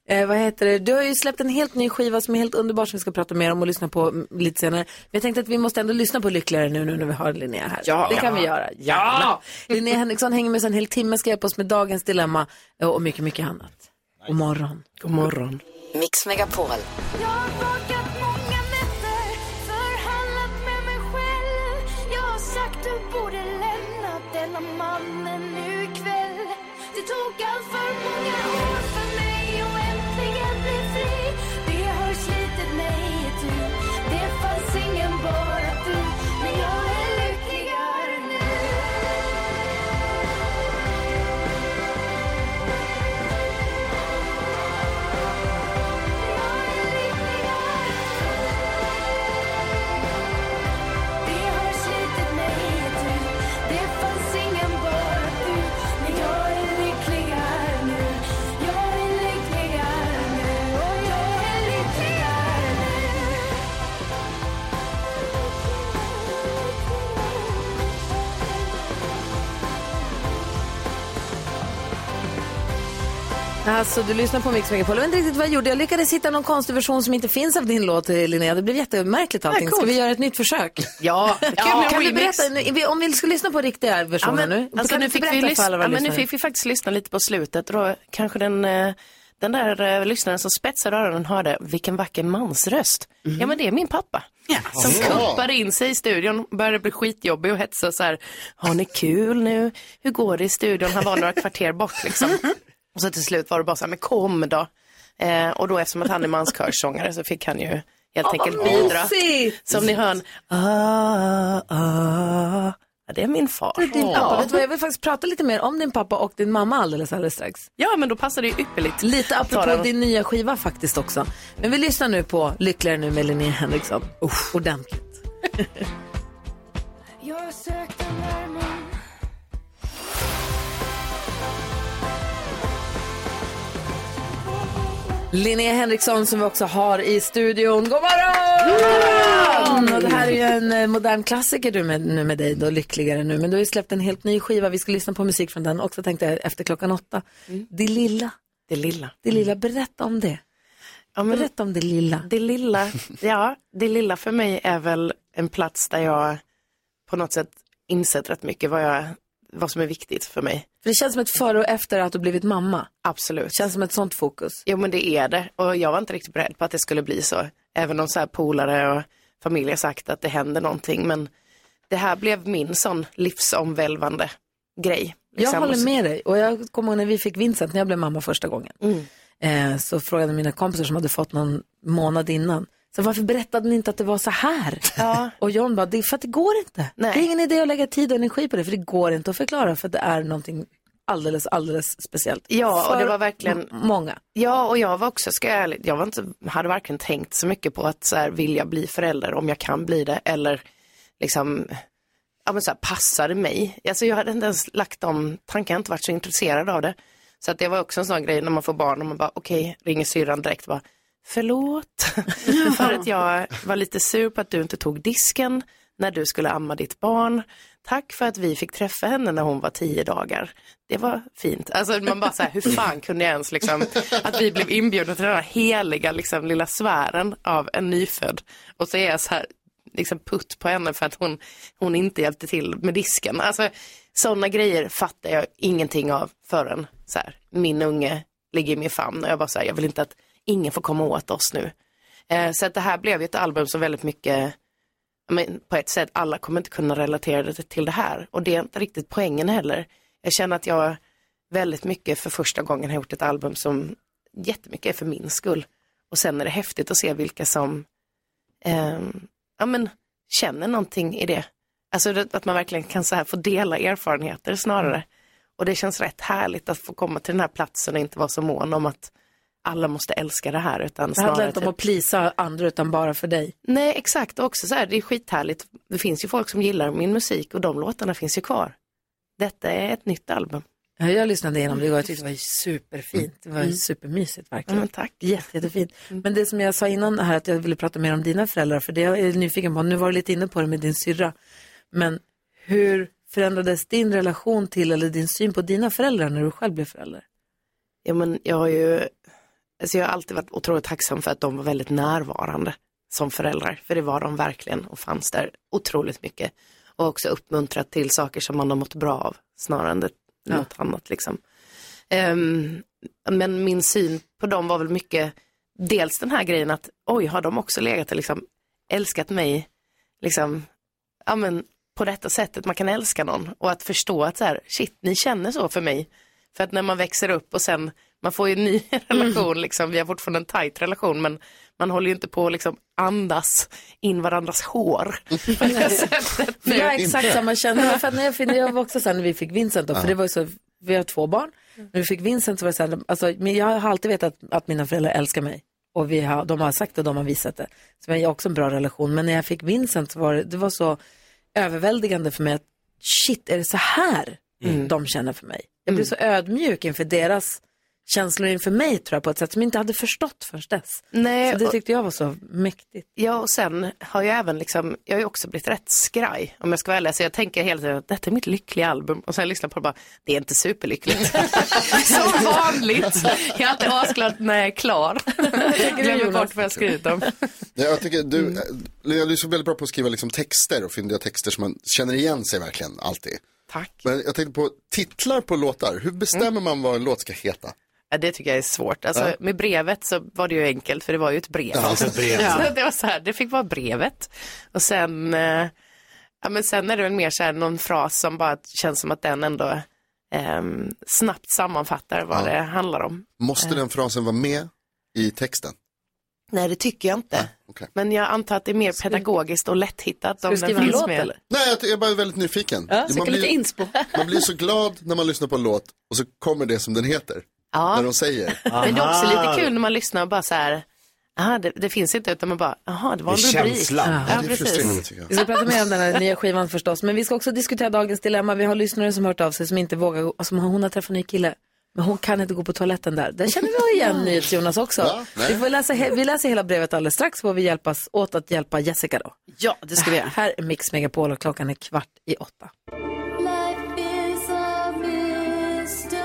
Eh, vad heter det? Du har ju släppt en helt ny skiva som är helt underbar som vi ska prata mer om och lyssna på mm, lite senare. Men jag tänkte att vi måste ändå lyssna på Lyckligare nu, nu när vi har Linnea här.
Ja.
Det kan vi göra.
Ja.
Linnea Henriksson hänger med oss en hel timme, ska hjälpa oss med dagens dilemma eh, och mycket, mycket annat. God morgon.
God morgon.
Mix Megapol.
Jag har sagt du borde lämna om en ny kväll Det tog allt för många år för mig att äntligen bli fri Det har slitit mig itu Det fanns ingen bara du Men jag är lyckligare nu Det har slitit mig itu Det fanns ingen bara du Men jag är lyckligare nu Jag är lyckligare nu Och jag är lyckligare nu
Alltså, du lyssnar på Mix Megapol. Jag vet inte riktigt vad jag gjorde. Jag lyckades hitta någon konstig version som inte finns av din låt, Linnea. Det blev jättemärkligt allting. Ska vi göra ett nytt försök? (laughs)
Ja,
Ja, kan du berätta, nu- om vi ska lyssna på riktiga versioner
men,
nu? kan
Alltså,
du
nu,
inte
fick vi
berätta för
lyssna,
alla våra
ja, men nu
lyssnare?
fick vi faktiskt lyssna lite på slutet. Då kanske den, eh, den där eh, lyssnaren som spetsade öronen hörde, vilken vacker mansröst. Ja, men det är min pappa. Som
Ja.
kuppade in sig i studion, började bli skitjobbig och hetsade så här, har ni kul nu? Hur går det i studion? Han var några kvarter bort liksom.
(laughs)
Och så till slut var det bara så här, men kom då. Eh, och då eftersom att han är manskörsångare så fick han ju helt
Ja, vad
enkelt bidra.
mysigt!
Som ni hör, en, ah, ah. Ja, det är min far.
Din pappa, vet du vad, jag vill faktiskt prata lite mer om din pappa och din mamma alldeles, alldeles strax.
Ja, men då passar det ju ypperligt.
Lite
att ta
apropå
den.
din nya skiva faktiskt också. Men vi lyssnar nu på Lyckligare nu med Linnea Henriksson. Usch, ordentligt. (laughs)
Jag sökte värmen
Linnea Henriksson som vi också har i studion. God morgon! Och det här är ju en eh, modern klassiker du med, nu med dig då, lyckligare nu. Men du har ju släppt en helt ny skiva. Vi ska lyssna på musik från den också tänkte jag efter klockan åtta. Det lilla.
Mm. Det lilla.
Det lilla, berätta om det. Berätta om det lilla.
Det
(laughs)
lilla, ja, det lilla för mig är väl en plats där jag på något sätt insett rätt mycket vad, jag, vad som är viktigt för mig.
För det känns som ett före och efter att du blivit mamma.
Absolut.
Känns som ett sånt fokus.
Jo men det är det och jag var inte riktigt beredd på att det skulle bli så. Även om så här polare och familj har sagt att det händer någonting men det här blev min sån livsomvälvande grej.
Jag
liksom.
håller med dig. Och jag kommer ihåg när vi fick Vincent, när jag blev mamma första gången.
Mm.
Eh, så frågade mina kompisar som hade fått någon månad innan. Så varför berättade ni inte att det var så här? Och John bara, det är för att det går inte. Det är ingen idé att lägga tid och energi på det, för det går inte att förklara, för det är någonting alldeles, alldeles speciellt.
Ja, och
För
det var verkligen...
m- många.
Ja, och jag var också, ska jag, ärligt- jag var inte, hade varken tänkt så mycket på att så här, vill jag bli förälder, om jag kan bli det, eller liksom, ja men så här, passar det mig? Alltså jag hade inte ens lagt de tankarna, jag har inte varit så intresserad av det. Så att det var också en sån grej när man får barn och man bara, okej, ringer syrran direkt och bara, förlåt, (laughs) för att jag var lite sur på att du inte tog disken när du skulle amma ditt barn. Tack för att vi fick träffa henne när hon var tio dagar. Det var fint. Alltså man bara så här, hur fan kunde jag ens liksom, att vi blev inbjudna till den här heliga liksom, lilla sfären av en nyfödd. Och så är jag så här, liksom putt på henne för att hon, hon inte hjälpte till med disken. Alltså sådana grejer fattar jag ingenting av förrän så här, min unge ligger i min famn och jag bara så här, jag vill inte att ingen får komma åt oss nu. Eh, så att det här blev ju ett album som väldigt mycket, ja, men, på ett sätt, alla kommer inte kunna relatera det till det här och det är inte riktigt poängen heller. Jag känner att jag väldigt mycket för första gången har gjort ett album som jättemycket är för min skull. Och sen är det häftigt att se vilka som ehm, ja, men, känner någonting i det. Alltså det- att man verkligen kan så här få dela erfarenheter snarare. Och det känns rätt härligt att få komma till den här platsen och inte vara så mån om att alla måste älska det här. Utan
Det handlar
snarare
inte om
typ-
att plisa andra, utan bara för dig.
Nej, exakt. Och också så här, det är skithärligt. Det finns ju folk som gillar min musik och de låtarna finns ju kvar. Detta är ett nytt album.
Ja, Jag lyssnade igenom det och jag tyckte det var superfint. Det var
Mm.
supermysigt verkligen.
Mm, tack. Mm.
Jätte, jättefint. Men det som jag sa innan här att jag ville prata mer om dina föräldrar, för det jag är nyfiken på, nu var du lite inne på det med din syrra, men hur förändrades din relation till eller din syn på dina föräldrar när du själv blev förälder?
Ja, men jag har ju, alltså jag har alltid varit otroligt tacksam för att de var väldigt närvarande som föräldrar. För det var de verkligen och fanns där otroligt mycket. Och också uppmuntrat till saker som man har mått bra av snarare än det,
Ja.
något annat liksom. Ehm, men min syn på dem var väl mycket, dels den här grejen att oj, har de också legat och liksom älskat mig liksom, ja men på detta sättet man kan älska någon och att förstå att så här, shit, ni känner så för mig. För att när man växer upp och sen, man får ju en ny (laughs) relation, liksom, vi har fortfarande en tajt relation, men man håller ju inte på att liksom andas in varandras hår. på det här sättet
(laughs)
nu.
Jag har exakt samma känsla. För att när jag, fin- jag var också så här när vi fick Vincent då,
Ja.
för det var ju så, vi har två barn. När vi fick Vincent så var det så här, alltså, men jag har alltid vetat att, att mina föräldrar älskar mig. Och vi har, de har sagt det, de har visat det. Så vi har också en bra relation. Men när jag fick Vincent så var det, det var så överväldigande för mig att shit, är det så här de känner för mig? Jag blev så ödmjuk inför deras känslor inför mig tror jag på ett sätt som jag inte hade förstått förrän dess.
Nej,
så det
och-
tyckte jag var så mäktigt.
Ja, och sen har jag även liksom, jag har ju också blivit rätt skraj om jag ska vara ärlig. Så jag tänker hela tiden att detta är mitt lyckliga album och sen lyssnar jag på det och bara, det är inte superlyckligt. (laughs) Som vanligt. Jag är alltid (laughs) asglad när jag är klar. Glömmer bort vad jag
(laughs)
skrivit om.
Ja, jag tycker du, eh,
Mm.
Lea, du är så väldigt bra på att skriva liksom texter och fyndiga texter som man känner igen sig verkligen alltid.
Tack. Mm.
Men jag tänkte på titlar på låtar. Hur bestämmer man vad en låt ska heta?
Ja, det tycker jag är svårt. Alltså,
Ja.
Med brevet så var det ju enkelt för det var ju ett brev.
Ja, ett brev.
(laughs) Så det var så här, det fick vara brevet. Och sen, eh, ja, men sen är det väl mer så här någon fras som bara känns som att den ändå ehm, snabbt sammanfattar vad
Ja.
det handlar om.
Måste den frasen vara med i texten?
Nej, det tycker jag inte.
okej.
Men jag antar att det är mer pedagogiskt och lätthittat. om den finns med.
Nej, jag, jag är bara väldigt nyfiken.
Ja,
man,
söker lite
blir,
inspo.
man blir så glad när man lyssnar på en låt och så kommer det som den heter.
Ja.
När de säger.
Men det är också lite kul när man lyssnar och bara så här, aha, det, det finns inte utan man bara, jaha, det var en
Det är
rubrik.
känslan. Ja,
Ja,
det är frustrerande,
precis.
tycker jag.
Vi ska prata mer om den här nya skivan förstås, men vi ska också diskutera dagens dilemma. Vi har lyssnare som hört av sig som inte vågar, gå- som hon har träffat en ny kille, men hon kan inte gå på toaletten där. Där känner vi igen NyhetsJonas också.
Ja, nej.
vi, får läsa, he- vi läser hela brevet alldeles strax, får vi hjälpas åt att hjälpa Jessica då.
Ja, det ska vi göra.
Här är Mix Megapol och klockan är kvart i åtta.
Life is a mystery.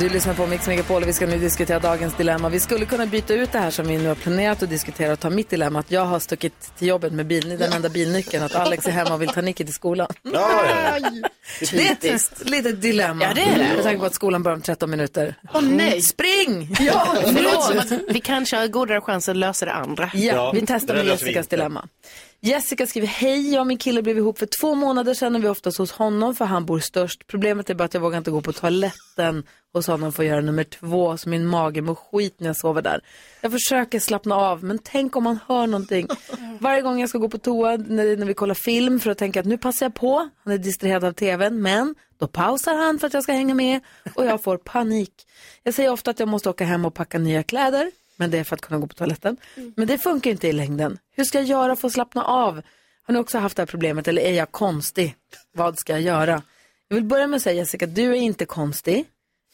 Du lyssnar på Mix Megapol och vi ska nu diskutera dagens dilemma. Vi skulle kunna byta ut det här som vi nu har planerat att diskutera och ta mitt dilemma att jag har stuckit till jobbet med bil, den enda bilnyckeln, att Alex är hemma och vill ta Nicky till skolan. (laughs) Det är ett
Typiskt.
litet dilemma.
Ja, det är det.
Med tanke på att skolan börjar om 13 minuter.
Åh, nej.
Spring!
Ja, det låter
förlåt.
som att vi kanske har godare chans att lösa det andra.
Ja, vi testar med Jessicas dilemma. Jessica skriver, hej, jag och min kille blev ihop för två månader sedan och vi är oftast hos honom för han bor störst. Problemet är bara att jag vågar inte gå på toaletten hos honom för att göra nummer två så min mage mår skit när jag sover där. Jag försöker slappna av men tänk om han hör någonting. Varje gång jag ska gå på toa när, när vi kollar film för att tänka att nu passar jag på, han är distraherad av tvn, men då pausar han för att jag ska hänga med och jag får panik. Jag säger ofta att jag måste åka hem och packa nya kläder, men det är för att kunna gå på toaletten. Men det funkar ju inte i längden. Hur ska jag göra för att slappna av? Har ni också haft det här problemet eller är jag konstig? Vad ska jag göra? Jag vill börja med att säga Jessica, du är inte konstig.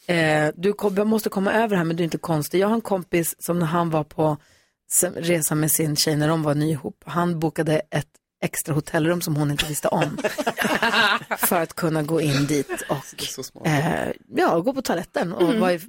Eh, du kom, måste komma över det här men du är inte konstig. Jag har en kompis som när han var på sem- resa med sin tjej när de var ny ihop, han bokade ett extra hotellrum som hon inte visste om. för att kunna gå in dit och eh, ja, gå på toaletten och
Mm.
vara i,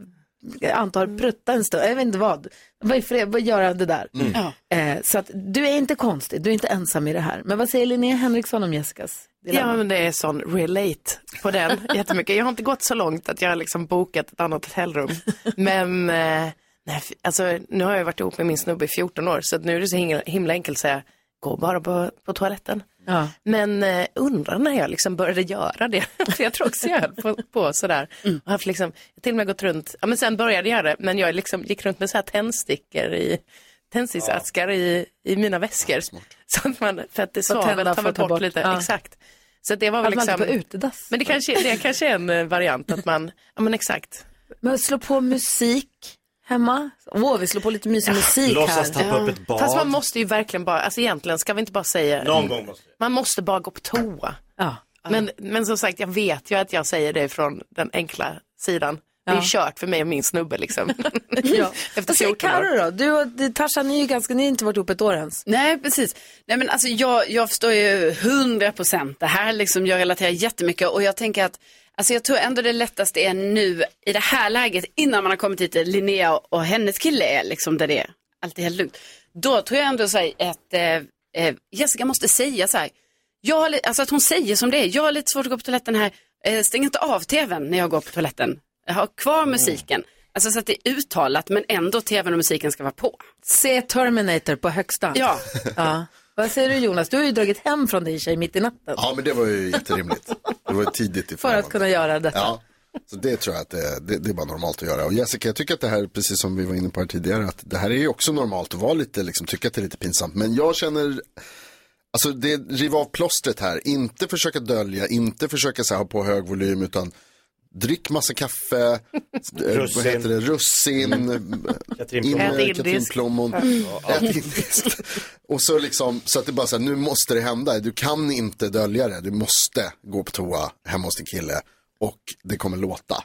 jag antar
Mm.
prutta en stund, jag vet inte vad. Vad, är fred, vad gör det där?
Mm. Ja.
Eh, så att du är inte konstig, du är inte ensam i det här. Men vad säger Linnea Henriksson om Jessicas dilemma?
Ja, men det är sån relate på den jättemycket. Jag har inte gått så långt att jag har liksom bokat ett annat hotellrum. Men eh, nej, f- alltså, nu har jag varit ihop med min snubbe i 14 år så att nu är det så himla, himla enkelt att säga gå bara på, på toaletten.
Ja.
Men eh, undrar när jag liksom började göra det. (laughs) För Alltså, jag tror också jag höll på, på sådär. Och haft liksom, jag har till och med gått runt, ja men sen började jag göra det, men jag liksom gick runt med så här tändstickor i tändsticksaskar i, i mina väskor. (laughs) Så att man, för att det
Och tända
svavlet tar
för
väl
att ta
bort,
bort,
lite,
ja.
exakt. Så det var väl
Att man
liksom...
inte får utedass.
Men det kanske, det kanske är en eh, variant att man, ja men exakt.
Men slå på musik hemma. Åh, vi slår på lite mysig musik här.
Låtsas tappa upp ett Fast man måste ju verkligen bara, alltså egentligen ska vi inte bara säga...
Någon gång måste
Man måste bara gå på toa.
Ja.
Men, men som sagt, jag vet ju att jag säger det från den enkla sidan. Det är
Ja.
kört för mig och min snubbe (laughs) liksom.
ja.
Efter
Mm. Vad säger
14 år.
Carro då? Du och du, Tarzan, ni är ju ganska, ni har inte varit ihop ett år ens.
Nej, precis. Nej, men alltså, jag, jag förstår ju 100 procent det här. Liksom, jag relaterar jättemycket och jag tänker att alltså, jag tror ändå det lättaste är nu i det här läget innan man har kommit dit där Linnea och, och hennes kille är, liksom, där det är alltid helt lugnt. Då tror jag ändå så här, att eh, eh, Jessica måste säga så här, jag har, li- alltså att hon säger som det är, jag har
Mm.
lite svårt att gå på toaletten här, eh, stäng inte av tvn när jag går på toaletten, ha kvar musiken. Alltså så att det är uttalat men ändå tvn och musiken ska vara på.
Se Terminator på högsta.
Ja.
ja. Vad säger du Jonas? Du har ju dragit hem från din tjej mitt i natten
Ja, men det var ju jätterimligt. Det var ju tidigt i
för att kunna göra detta.
Ja, så det tror jag att det, det, det är bara normalt att göra. Och Jessica, jag tycker att det här, precis som vi var inne på här tidigare, att det här är ju också normalt att vara lite, liksom, tycka att det är lite pinsamt. Men jag känner, alltså det, riva av plåstret här, inte försöka dölja, inte försöka så här, ha på hög volym, utan Drick massa kaffe, eh, vad
Russin. Mm.
heter det, russin, eh,
Katrinplommon.
in-
Ät indiskt.
katrinplommon, (laughs)
Ja.
ät indiskt. Och så liksom, så att det bara så här, nu måste det hända. Du kan inte dölja det. Du måste gå på toa hemma hos din kille och det kommer låta.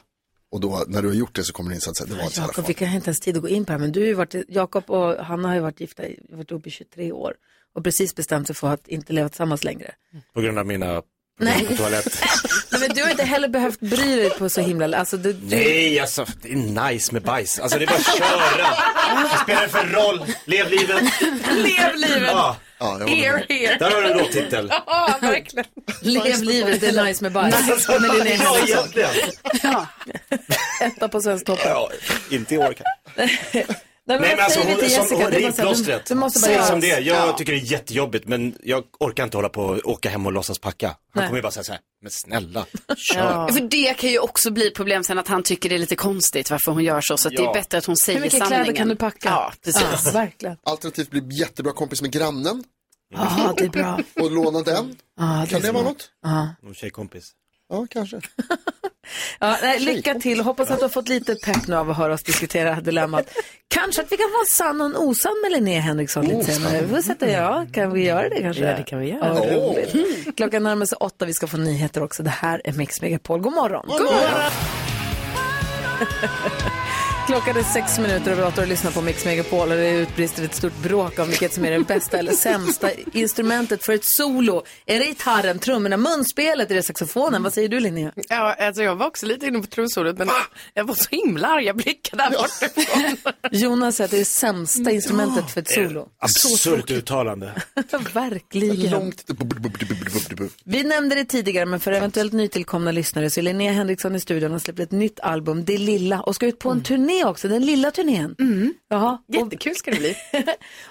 Och då, när du har gjort det så kommer det insatsen, det var inte så jävla
Jakob,
farligt.
vi har inte ens tid att gå in på det här, men du har ju varit, Jakob och Hanna har ju varit gifta, i- varit ihop i 23 år och precis bestämt sig för att inte leva tillsammans längre.
På grund av mina
Nej.
problem på toalett.
Nej, men du har inte heller behövt bry dig på så himla, alltså du, du...
Nej, alltså det är nice med bajs. Alltså det är bara att köra. Vad spelar det för roll? Lev livet.
Lev livet.
Ja.
Ja,
Here, here.
Där har du en låttitel.
(laughs) Ja, verkligen. Lev livet, det är nice med bajs.
Alltså,
Med Linnea
ja,
Henriksson.
egentligen.
Ja. Etta på Svensktoppen.
Ja, inte i år kanske.
Nej, men
Nej men
vad
alltså,
säger vi till
hon, som,
Jessica?
hon,
Det
riv
måste jag-
plåstret.
det måste bara
Säg
göras.
som det är. Jag
Ja.
tycker det är jättejobbigt men jag orkar inte hålla på och åka hem och låtsas packa. Han
Nej.
kommer ju bara säga så här, men snälla, kör.
Ja. För det kan ju också bli problem sen att han tycker det är lite konstigt varför hon gör så. Så att det
Ja.
är bättre att hon säger
Hur mycket
sanningen.
kläder kan du packa?
Ja, precis.
Ja, verkligen.
Alternativt bli jättebra kompis med grannen.
Ja, det är bra.
Och låna den.
Ja,
kan det vara något?
Ja.
Någon tjejkompis.
Ja, kanske.
(laughs) Ja, nej, lycka till. Hoppas att du har fått lite pepp nu av att höra oss diskutera det här dilemmat. Kanske att vi kan vara sann och en osann med Linnea Henriksson lite senare. Vi får sätta ja. Kan vi göra det kanske?
Ja, det kan vi göra.
Ja,
Åh.
roligt. Klockan närmar sig åtta. Vi ska få nyheter också. Det här är Mix Megapol. God morgon.
God morgon.
Klockan är sex minuter över åtta och lyssnar på Mix Megapol och det utbrister ett stort bråk om vilket som är det bästa eller sämsta instrumentet för ett solo. Är det gitarren, trummorna, munspelet, är det saxofonen? Vad säger du Linnea?
Ja, alltså jag var också lite inne på trumsolot men jag var så himla arga blickar där borta.
Jonas säger att det är det sämsta instrumentet för ett solo. (laughs)
Absurt uttalande.
Verkligen. Vi nämnde det tidigare, men för eventuellt nytillkomna lyssnare så är Linnea Henriksson i studion och släppt ett nytt album, Det lilla, och ska ut på en turné också, den lilla turnén. Mm. Jaha.
Jättekul ska det bli.
(laughs)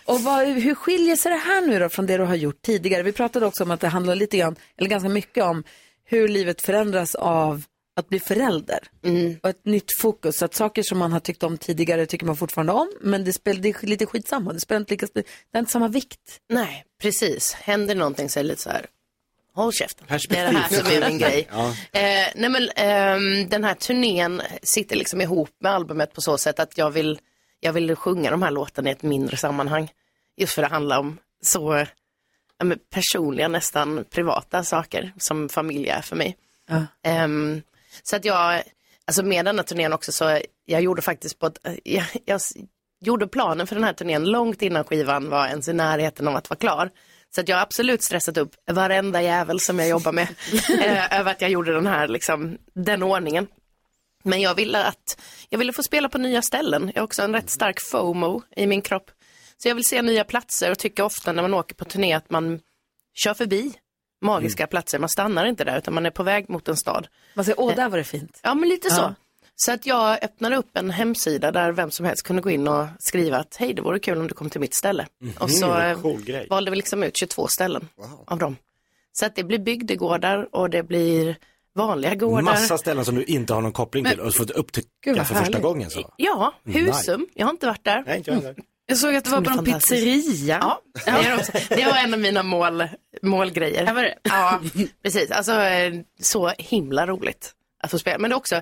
och vad, hur skiljer sig det här nu då från det du har gjort tidigare? Vi pratade också om att det handlar lite grann, eller ganska mycket om hur livet förändras av att bli förälder.
Mm.
Och ett nytt fokus, att saker som man har tyckt om tidigare tycker man fortfarande om, men det, spel, det är lite skitsamma, det spelar inte lika, det har inte samma vikt.
Nej, precis. Händer någonting så är det lite så här, håll käften. Det
Perspektiv.
är det här som är min grej.
Ja.
Eh, nej men, ehm, den här turnén sitter liksom ihop med albumet på så sätt att jag vill, jag vill sjunga de här låtarna i ett mindre sammanhang. Just för det handlar om så eh, ja, men personliga, nästan privata saker som familj är för mig.
Ja.
Ehm, så att jag, alltså med den här turnén också så, jag gjorde faktiskt på ett, jag, jag s- gjorde planen för den här turnén långt innan skivan var ens i närheten av att vara klar. Så att jag har absolut stressat upp varenda jävel som jag jobbar med eh, över att jag gjorde den här, liksom, den ordningen. Men jag ville att, jag ville få spela på nya ställen. Jag har också en rätt stark FOMO i min kropp. Så jag vill se nya platser och tycker ofta när man åker på turné att man kör förbi magiska
Mm.
platser. Man stannar inte där utan man är på väg mot en stad. Eh,
Man säger, åh, där var det fint.
Ja, men lite
Ja.
så. Så att jag öppnade upp en hemsida där vem som helst kunde gå in och skriva att hej, det vore kul om du kom till mitt ställe. Och så
Mhm, vad
eh,
cool grej.
valde vi liksom ut 22 ställen av dem. Så att det blir bygdegårdar och det blir vanliga gårdar.
Massa ställen som du inte har någon koppling till och fått upptäcka
Gud,
för
vad
första
härligt.
gången. Så.
Ja,
Nej.
Husum. Jag har inte varit där.
Nej, inte jag heller.
Jag såg att det var på någon pizzeria.
Ja, det, är också. det var en av mina mål, målgrejer. Ja, ja, precis. Alltså, eh, så himla roligt att få spela. Men det är också,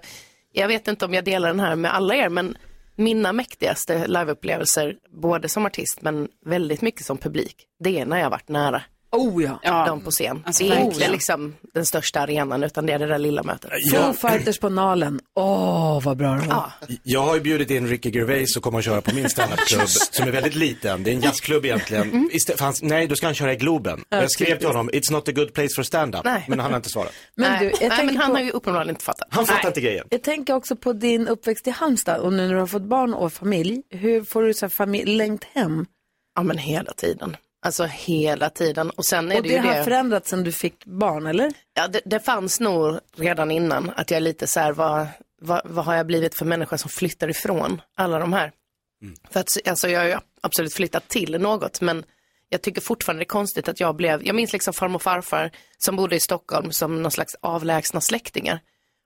jag vet inte om jag delar den här med alla er, men mina mäktigaste liveupplevelser, både som artist men väldigt mycket som publik, det är när jag har varit nära.
Oh ja.
De på scen.
Alltså,
det är
verkligen.
inte liksom den största arenan utan det är det där lilla mötet.
Foo Fighters på Nalen, åh, vad bra det var.
Jag har ju bjudit in Ricky Gervais att komma och köra på min standupklubb som är väldigt liten. Det är en jazzklubb egentligen. Istä- för han, nej, då ska han köra i Globen. Och jag skrev till honom, it's not a good place for stand-up.
Nej.
Men han har inte svarat.
Men
Nej.
du, jag
Nej,
tänker
men han
på-
har ju uppenbarligen inte fattat.
Han fattar inte grejen.
Jag tänker också på din uppväxt i Halmstad och nu när du har fått barn och familj. Hur får du så här familj, längt hem?
Ja men hela tiden. Alltså hela tiden. Och sen är
och
det
det,
ju
har
det.
förändrats sedan du fick barn, eller?
Ja, det, det fanns nog redan innan att jag lite så här var, vad, vad har jag blivit för människa som flyttar ifrån alla de här? För att, alltså, jag har ju absolut flyttat till något, men jag tycker fortfarande det är konstigt att jag blev, jag minns liksom farmor och farfar som bodde i Stockholm som någon slags avlägsna släktingar.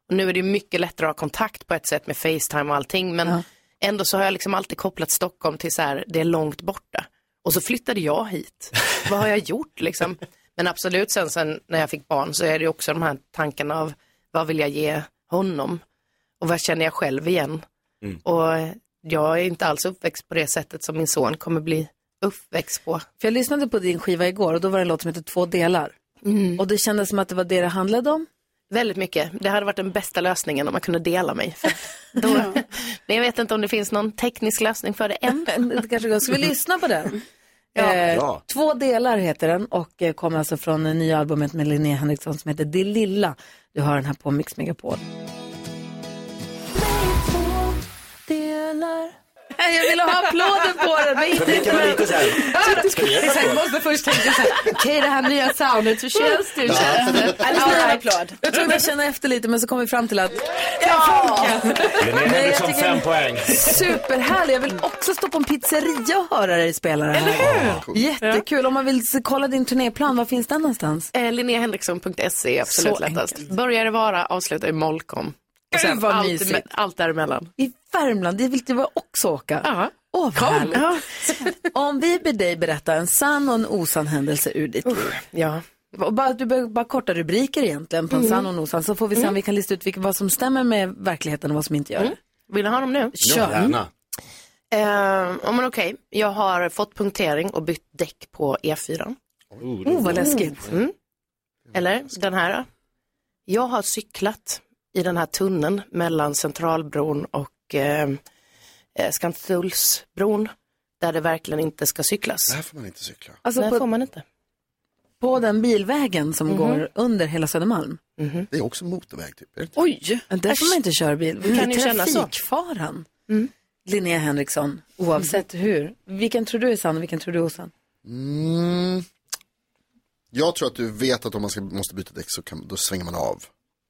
Och nu är det ju mycket lättare att ha kontakt på ett sätt med Facetime och allting, men ändå så har jag liksom alltid kopplat Stockholm till så här, det är långt borta. Och så flyttade jag hit. Vad har jag gjort liksom? Men absolut sen, sen när jag fick barn så är det ju också de här tankarna av vad vill jag ge honom? Och vad känner jag själv igen?
Mm.
Och jag är inte alls uppväxt på det sättet som min son kommer bli uppväxt på.
För jag lyssnade på din skiva igår och då var det en låt som hette Två delar. Och det kändes som att det var det det handlade om.
Mm. Väldigt mycket. Det hade varit den bästa lösningen om man kunde dela mig. För då... Men jag vet inte om det finns någon teknisk lösning för det än.
(laughs) det kanske går. Ska vi lyssna på den? Eh,
Ja.
Två delar heter den och eh, kommer alltså från det nya albumet med Linnea Henriksson som heter Det lilla. Du hör den här på Mix Megapol.
Delar.
Jag ville ha applåden på den, men inte...
Publiken var lite så här, ska vi göra
Exakt,
applåd?
måste först tänka så här, okej det här nya soundet, hur känns det? Hur känns det?
Ja.
Alltså,
Ja,
applåd.
Jag tror jag känner efter lite, men så kom vi fram till att...
Linnea
Nej, jag
Henriksson,
tycker-
fem poäng.
Superhärlig, jag vill också stå på en pizzeria och höra dig spela det här. Jättekul, om man vill se- kolla din turnéplan, var finns den någonstans?
Eh, LinneaHenriksson.se E är absolut
Så
lättast. Börjar det vara, avslutar i Molkom. Och sen
Gud, vad
allt,
mysigt.
me- allt däremellan.
I Värmland, det vill jag också åka.
Ja.
Åh, vad härligt. Om vi ber dig berätta en sann och en osann händelse ur ditt liv.
Ja.
Och bara, du behöver bara korta rubriker egentligen på en
Mm.
sann och en osann. Så får vi se om
Mm.
vi kan lista ut vilka, vad som stämmer med verkligheten och vad som inte gör det.
Vill du ha dem nu?
Kör. Ja, gärna.
Eh, ja, men okej, jag har fått punktering och bytt däck på E4.
det var- Oh, vad läskigt.
Mm. Eller den här. då. Jag har cyklat i den här tunneln mellan Centralbron och eh, eh, Skanstullsbron där det verkligen inte ska cyklas.
Där får man inte cykla.
Alltså,
Nej,
på-
får man inte.
På den bilvägen som
Mhm.
går under hela Södermalm.
Det är också motorväg typ. är det inte?
Oj!
Men Där får man inte köra bil.
Det
Vilken
Mm. kan ju kännas så. Mm.
trafikfaran. Linnea Henriksson, oavsett hur. Vilken tror du är sann och vilken tror du är osann?
Mm. Jag tror att du vet att om man ska, måste byta däck så kan, då svänger man av.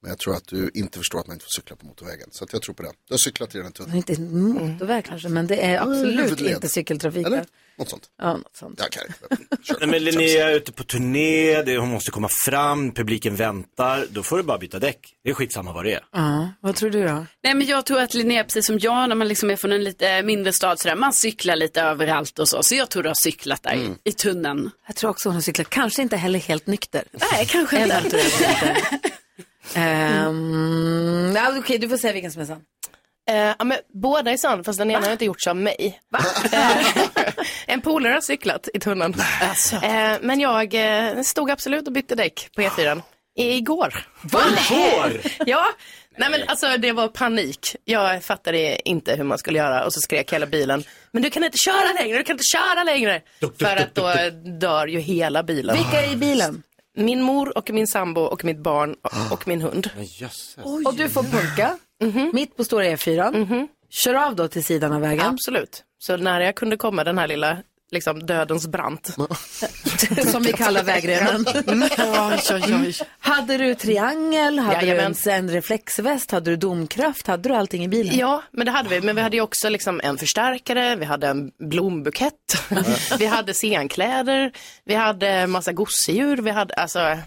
Men jag tror att du inte förstår att man inte får cykla på motorvägen. Så att jag tror på den. Du har cyklat i den här
Det
tunneln.
är Inte en motorväg kanske, men det är absolut
Mm. huvudled.
inte cykeltrafik. där.
Eller? Något sånt.
Ja, något sånt.
Jag kan inte.
Nej, men Linnea är ute på turné, det, hon måste komma fram, publiken väntar. Då får du bara byta däck. Det är skitsamma vad det är.
Ja, vad tror du då?
Nej men jag tror att Linnea, precis som jag, när man liksom är från en lite mindre stad sådär, man cyklar lite överallt och så. Så jag tror du har cyklat där
Mm.
i tunneln.
Jag tror också hon har cyklat, kanske inte heller helt nykter.
Nej, kanske inte.
(laughs)
Ehm, ja, Okej, du får säga vilken som är sann.
Eh, ja, men båda är sann, fast den ena har inte gjorts av mig. (laughs) Eh, en polare har cyklat i tunneln.
alltså.
Eh, men jag eh, stod absolut och bytte däck på
Ah.
E4. I- Igår.
Va? Igår?
ja. Nej men alltså det var panik. Jag fattade inte hur man skulle göra och så skrek hela bilen. Men du kan inte köra längre, du kan inte köra längre. För att då dör ju hela bilen.
Vilka är i bilen?
Min mor och min sambo och mitt barn och, och min hund. Mhm.
Och du får punka, mitt på stora E4. Kör av då till sidan av vägen.
Absolut. Så när jag kunde komma den här lilla liksom,
(laughs)
dödens brant. (laughs)
som vi kallar vägrenen. Mm. Hade du triangel, hade du en,
Jajamän.
en reflexväst, hade du domkraft, hade du allting i bilen?
Ja, men det hade vi. Men vi hade ju också liksom en förstärkare, vi hade en blombukett, (laughs) vi hade scenkläder, vi hade massa gosedjur, vi hade alltså...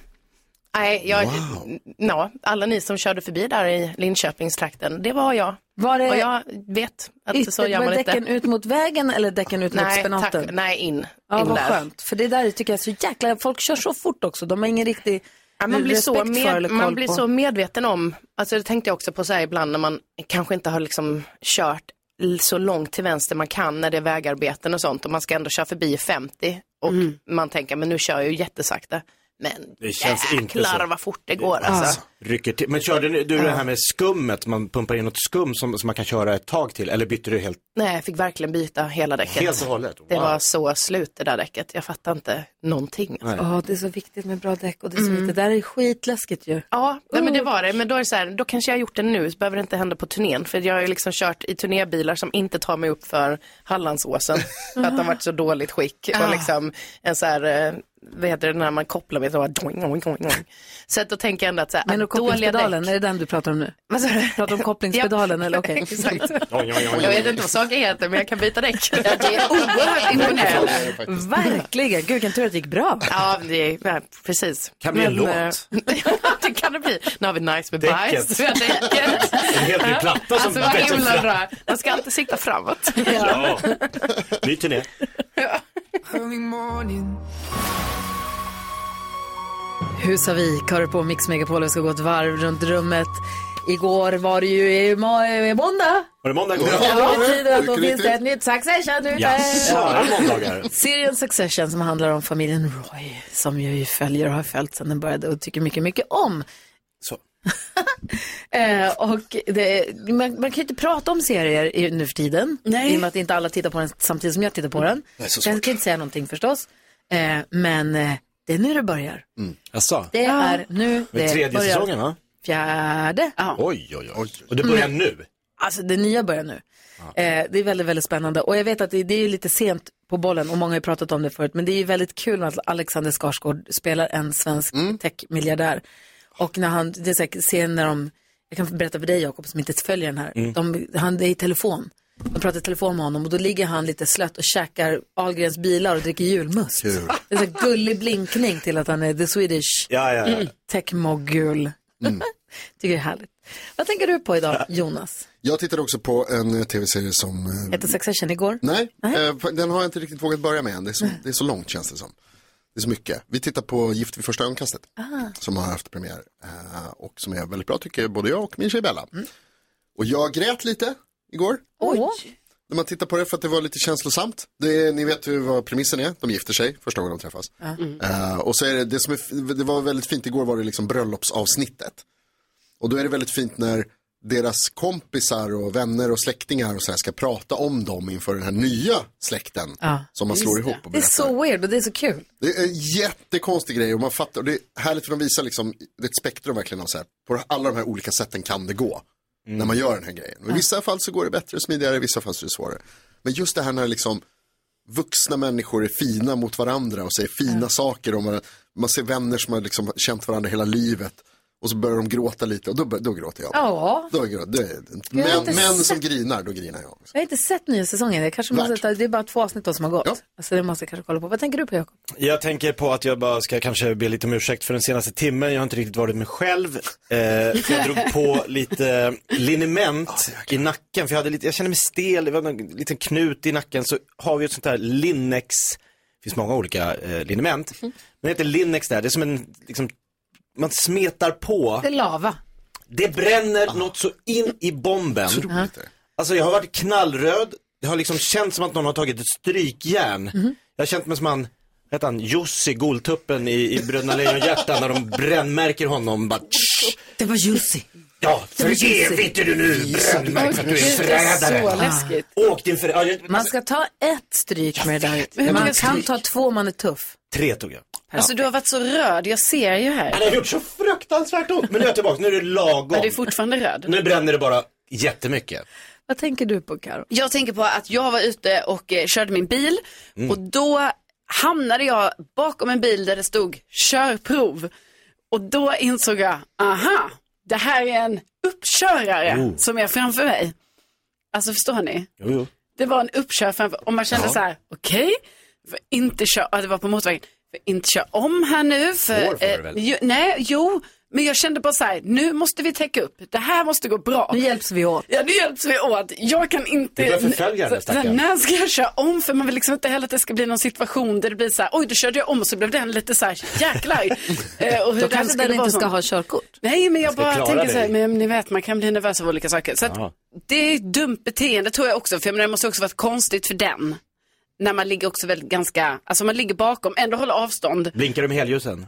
Nej, jag...
Wow.
Ja, alla ni som körde förbi där i Linköpingstrakten, det var jag.
Var det-
Och jag vet att så
Ytter-
gör
var
man
däcken
inte.
ut mot vägen eller däcken ut mot
Nej,
spenaten?
tack. Nej, in.
Ja,
in
vad
där.
skönt. För det där tycker jag är så jäkla, folk kör så fort också. De har ingen riktig
Ja, man blir, så,
respekt för eller
med,
koll
man blir
på.
så medveten om, alltså det tänkte jag också på så här ibland när man kanske inte har liksom kört l- så långt till vänster man kan när det är vägarbeten och sånt och man ska ändå köra förbi i 50 och
Mm.
man tänker men nu kör jag ju jättesakta. Men
Det känns inte
jäklar
så.
vad fort det går alltså.
Rycker till. Men körde ni- du det här med skummet, man pumpar in något skum som, som man kan köra ett tag till? Eller bytte du helt?
Nej, jag fick verkligen byta hela däcket.
Helt och hållet?
Det
Wow.
var så slut det där däcket, jag fattar inte någonting. Alltså.
Ja, det är så viktigt med bra däck och det, är så viktigt. det där är skitläskigt ju.
Mm. Ja, nej, men det var det. Men då är det så här, då kanske jag har gjort det nu, så behöver det inte hända på turnén. För jag har ju liksom kört i turnébilar som inte
(laughs)
tar
Ah.
mig upp för Hallandsåsen. för att de har varit så dåligt skick. Och liksom en så här, eh, vad heter det, när man kopplar med så bara doing, oing, oing,
(laughs)
oing. Så att då tänker jag ändå att så här,
Men
att
och kopplingspedalen, är det den du pratar om nu?
Vad sa du? (laughs)
Pratar om kopplingspedalen eller okej?
Exakt. Jag vet inte vad saker heter men jag kan byta däck.
det är (laughs) oerhört
(laughs)
imponerande. Verkligen,
gud vilken tur att det gick bra. Ja, det är, ja precis.
Kan bli en
eh, det kan det bli. Nu har vi nice med
Däcket.
bajs. Vi har (laughs) däcket.
En helt ny platta som
alltså, vad
bättre
himla
fram.
bra. Man ska alltid sikta framåt.
Ja. Ny turné.
Husavik hör på Mix Megapol och ska gå ett varv runt rummet. Igår var det ju i må- i måndag.
Var det måndag igår?
Ja, betyder att då finns det ett nytt Succession ute.
Jaså, är det måndagar?
Serien Succession som handlar om familjen Roy som jag ju följer och har följt sedan den började och tycker mycket, mycket om.
Så.
(laughs) Eh, och det, man, man kan ju inte prata om serier i, nu för tiden. I och med att inte alla tittar på den samtidigt som jag tittar på den.
Mm. Det är så
jag kan inte säga någonting förstås. Eh, men eh, det är nu det börjar.
Jaså?
Det är nu
Med
det
tredje
börjar.
säsongen va?
Fjärde.
Oj, oj, oj. Och det börjar
Men-
nu?
Alltså det nya börjar nu. Eh, det är väldigt, väldigt spännande. Och jag vet att det, det är ju lite sent på bollen och många har ju pratat om det förut. Men det är ju väldigt kul att Alexander Skarsgård spelar en svensk
Mm.
techmiljardär. Och när han, det är säkert scen när de, jag kan berätta för dig Jakob som inte följer den här.
Mm.
De, han är i telefon. De pratar i telefon med honom och då ligger han lite slött och käkar Ahlgrens bilar och dricker julmust.
Kul.
Det är en gullig blinkning till att han är the Swedish
Ja, ja, ja. Mm.
mm, techmogul. (laughs) Tycker det är härligt. Vad tänker du
(laughs)
på idag, Jonas?
Jag tittade också på en eh, tv-serie som... eh,
Hette Succession igår?
Nej, eh, fa- den har jag inte riktigt vågat börja med än. Det är, så, det är så långt känns det som. Det är så mycket. Vi tittar på Gift vid första ögonkastet.
Ah.
Som har haft premiär. eh, Och som är väldigt bra tycker både jag och min tjej Bella. Och jag grät lite igår.
Mm. Oj.
När man tittar på det för att det var lite känslosamt. Det är, ni vet ju vad premissen är. De gifter sig första gången de träffas.
Ah. Mm.
Eh, och så är det, det som är, f- det var väldigt fint igår var det liksom bröllopsavsnittet. Och då är det väldigt fint när deras kompisar och vänner och släktingar och så här ska prata om dem inför den här nya släkten som man slår ihop. Och
det är
berättar.
så weird och det är så kul.
Det är en jättekonstig grej och man fattar, och det är härligt för de visar liksom, det är ett spektrum verkligen av så här, på alla de här olika sätten kan det gå.
Mm.
När man gör den här grejen. Och I vissa fall så går det bättre och smidigare, i vissa fall så är det svårare. Men just det här när liksom vuxna människor är fina mot varandra och säger fina saker om varandra. Man ser vänner som har liksom känt varandra hela livet och så börjar de gråta lite och då, bör- då gråter jag.
Ja.
Då grå, det är,
Jag har
män,
inte
män som
sett-
grinar, då grinar jag.
Jag har inte sett nya säsongen. Jag kanske måste ta, det är bara två avsnitt då som har gått. Alltså det måste jag kanske kolla på. Vad tänker du på Jakob?
Jag tänker på att jag bara ska kanske be lite om ursäkt för den senaste timmen. Jag har inte riktigt varit mig själv. Eh, för jag drog på lite liniment i nacken. För jag, hade lite, jag kände mig stel, det var en liten knut i nacken. Så har vi ett sånt här Linnex, det finns många olika eh, liniment. Men
Mm.
det heter Linnex där, det är som en, liksom, man smetar på.
Det är lava.
Det bränner något så in i bomben. Alltså jag har varit knallröd, det har liksom känts som att någon har tagit ett strykjärn. Jag har känt mig som han, vad heter han, Jussi, Goltuppen i, i Bröderna Lejonhjärta när de brännmärker honom. Bara, tsch.
Det var Jussi.
Ja,
Det var
för
Jussi.
evigt är du nu brännmärkt för att du är en
Gud, det är så
förrädare.
läskigt.
Ah. Åk din förrädare.
Man ska ta ett stryk med det där.
Men
Man
jag
kan
stryk.
ta två om man är tuff.
Tre tog jag.
Alltså du har varit så röd, jag ser ju här.
Ja, det har gjort så fruktansvärt ont. Men nu är jag tillbaka, nu är det lagom.
Men du är fortfarande röd.
Nu bränner det bara jättemycket.
Vad tänker du på Karo?
Jag tänker på att jag var ute och eh, körde min bil
Mm.
och då hamnade jag bakom en bil där det stod körprov. Och då insåg jag, aha, det här är en uppkörare
Oh.
som är framför mig. Alltså förstår ni?
Jo, jo.
Det var en uppkör framför, och man kände
Ja.
så här, okej, för inte köra, ja, det var på motorvägen, för inte köra om här nu. För, eh,
Får får du väl?
ju, nej, jo, men jag kände bara så här, nu måste vi täcka upp, det här måste gå bra. Nu
hjälps vi åt.
Ja, nu hjälps vi åt. Jag kan inte...
Du börjar förfölja henne,
Så- så här,
stackarn.
När ska jag köra om? För man vill liksom inte heller att det ska bli någon situation där det blir så här, oj, då körde jag om och så blev den lite så här, jäklar. Eh, och hur
Då kanske
skulle
den
vara
inte ska
sån.
ha körkort.
Nej, men jag
ska
bara
klara
tänker så här,
dig.
men ni vet, man kan bli nervös av olika saker. Så att, det är ett dumt beteende tror jag också, för jag menar, det måste också varit konstigt för den. När man ligger också väldigt ganska, alltså man ligger bakom, ändå håller avstånd.
Blinkar du med helljusen?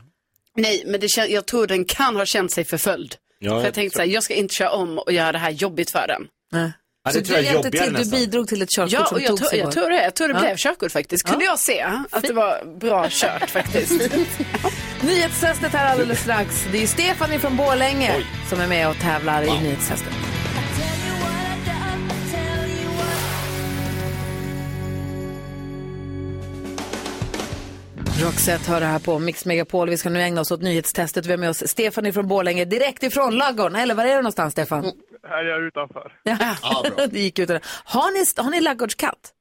Nej, men det, kän- jag tror den kan ha känt sig förföljd.
Ja,
för jag
jag
tänkte så
tror-
här, jag ska inte köra om och göra det här jobbigt för den.
Ja,
Så
det tror
du
jag är
hjälpte
jobbigare
till, du
nästan.
bidrog till ett körkort
Ja,
som
och jag,
tog
tror-
sig
jag
bort.
tror det. Jag tror det
Ja.
blev körkort faktiskt. Kunde jag se att det var bra
(laughs)
kört faktiskt.
(laughs) Nyhetstestet här alldeles strax. Det är Stefan från Borlänge som är med och tävlar i nyhetstestet. Roxette hör det här på Mix Megapol. Vi ska nu ägna oss åt nyhetstestet. Vi har med oss Stefan från Borlänge direkt ifrån laggården. Eller var är du någonstans Stefan?
Här är jag utanför.
Ja.
Ja,
(laughs) det gick ut. Har ni, har ni laggårdskatt?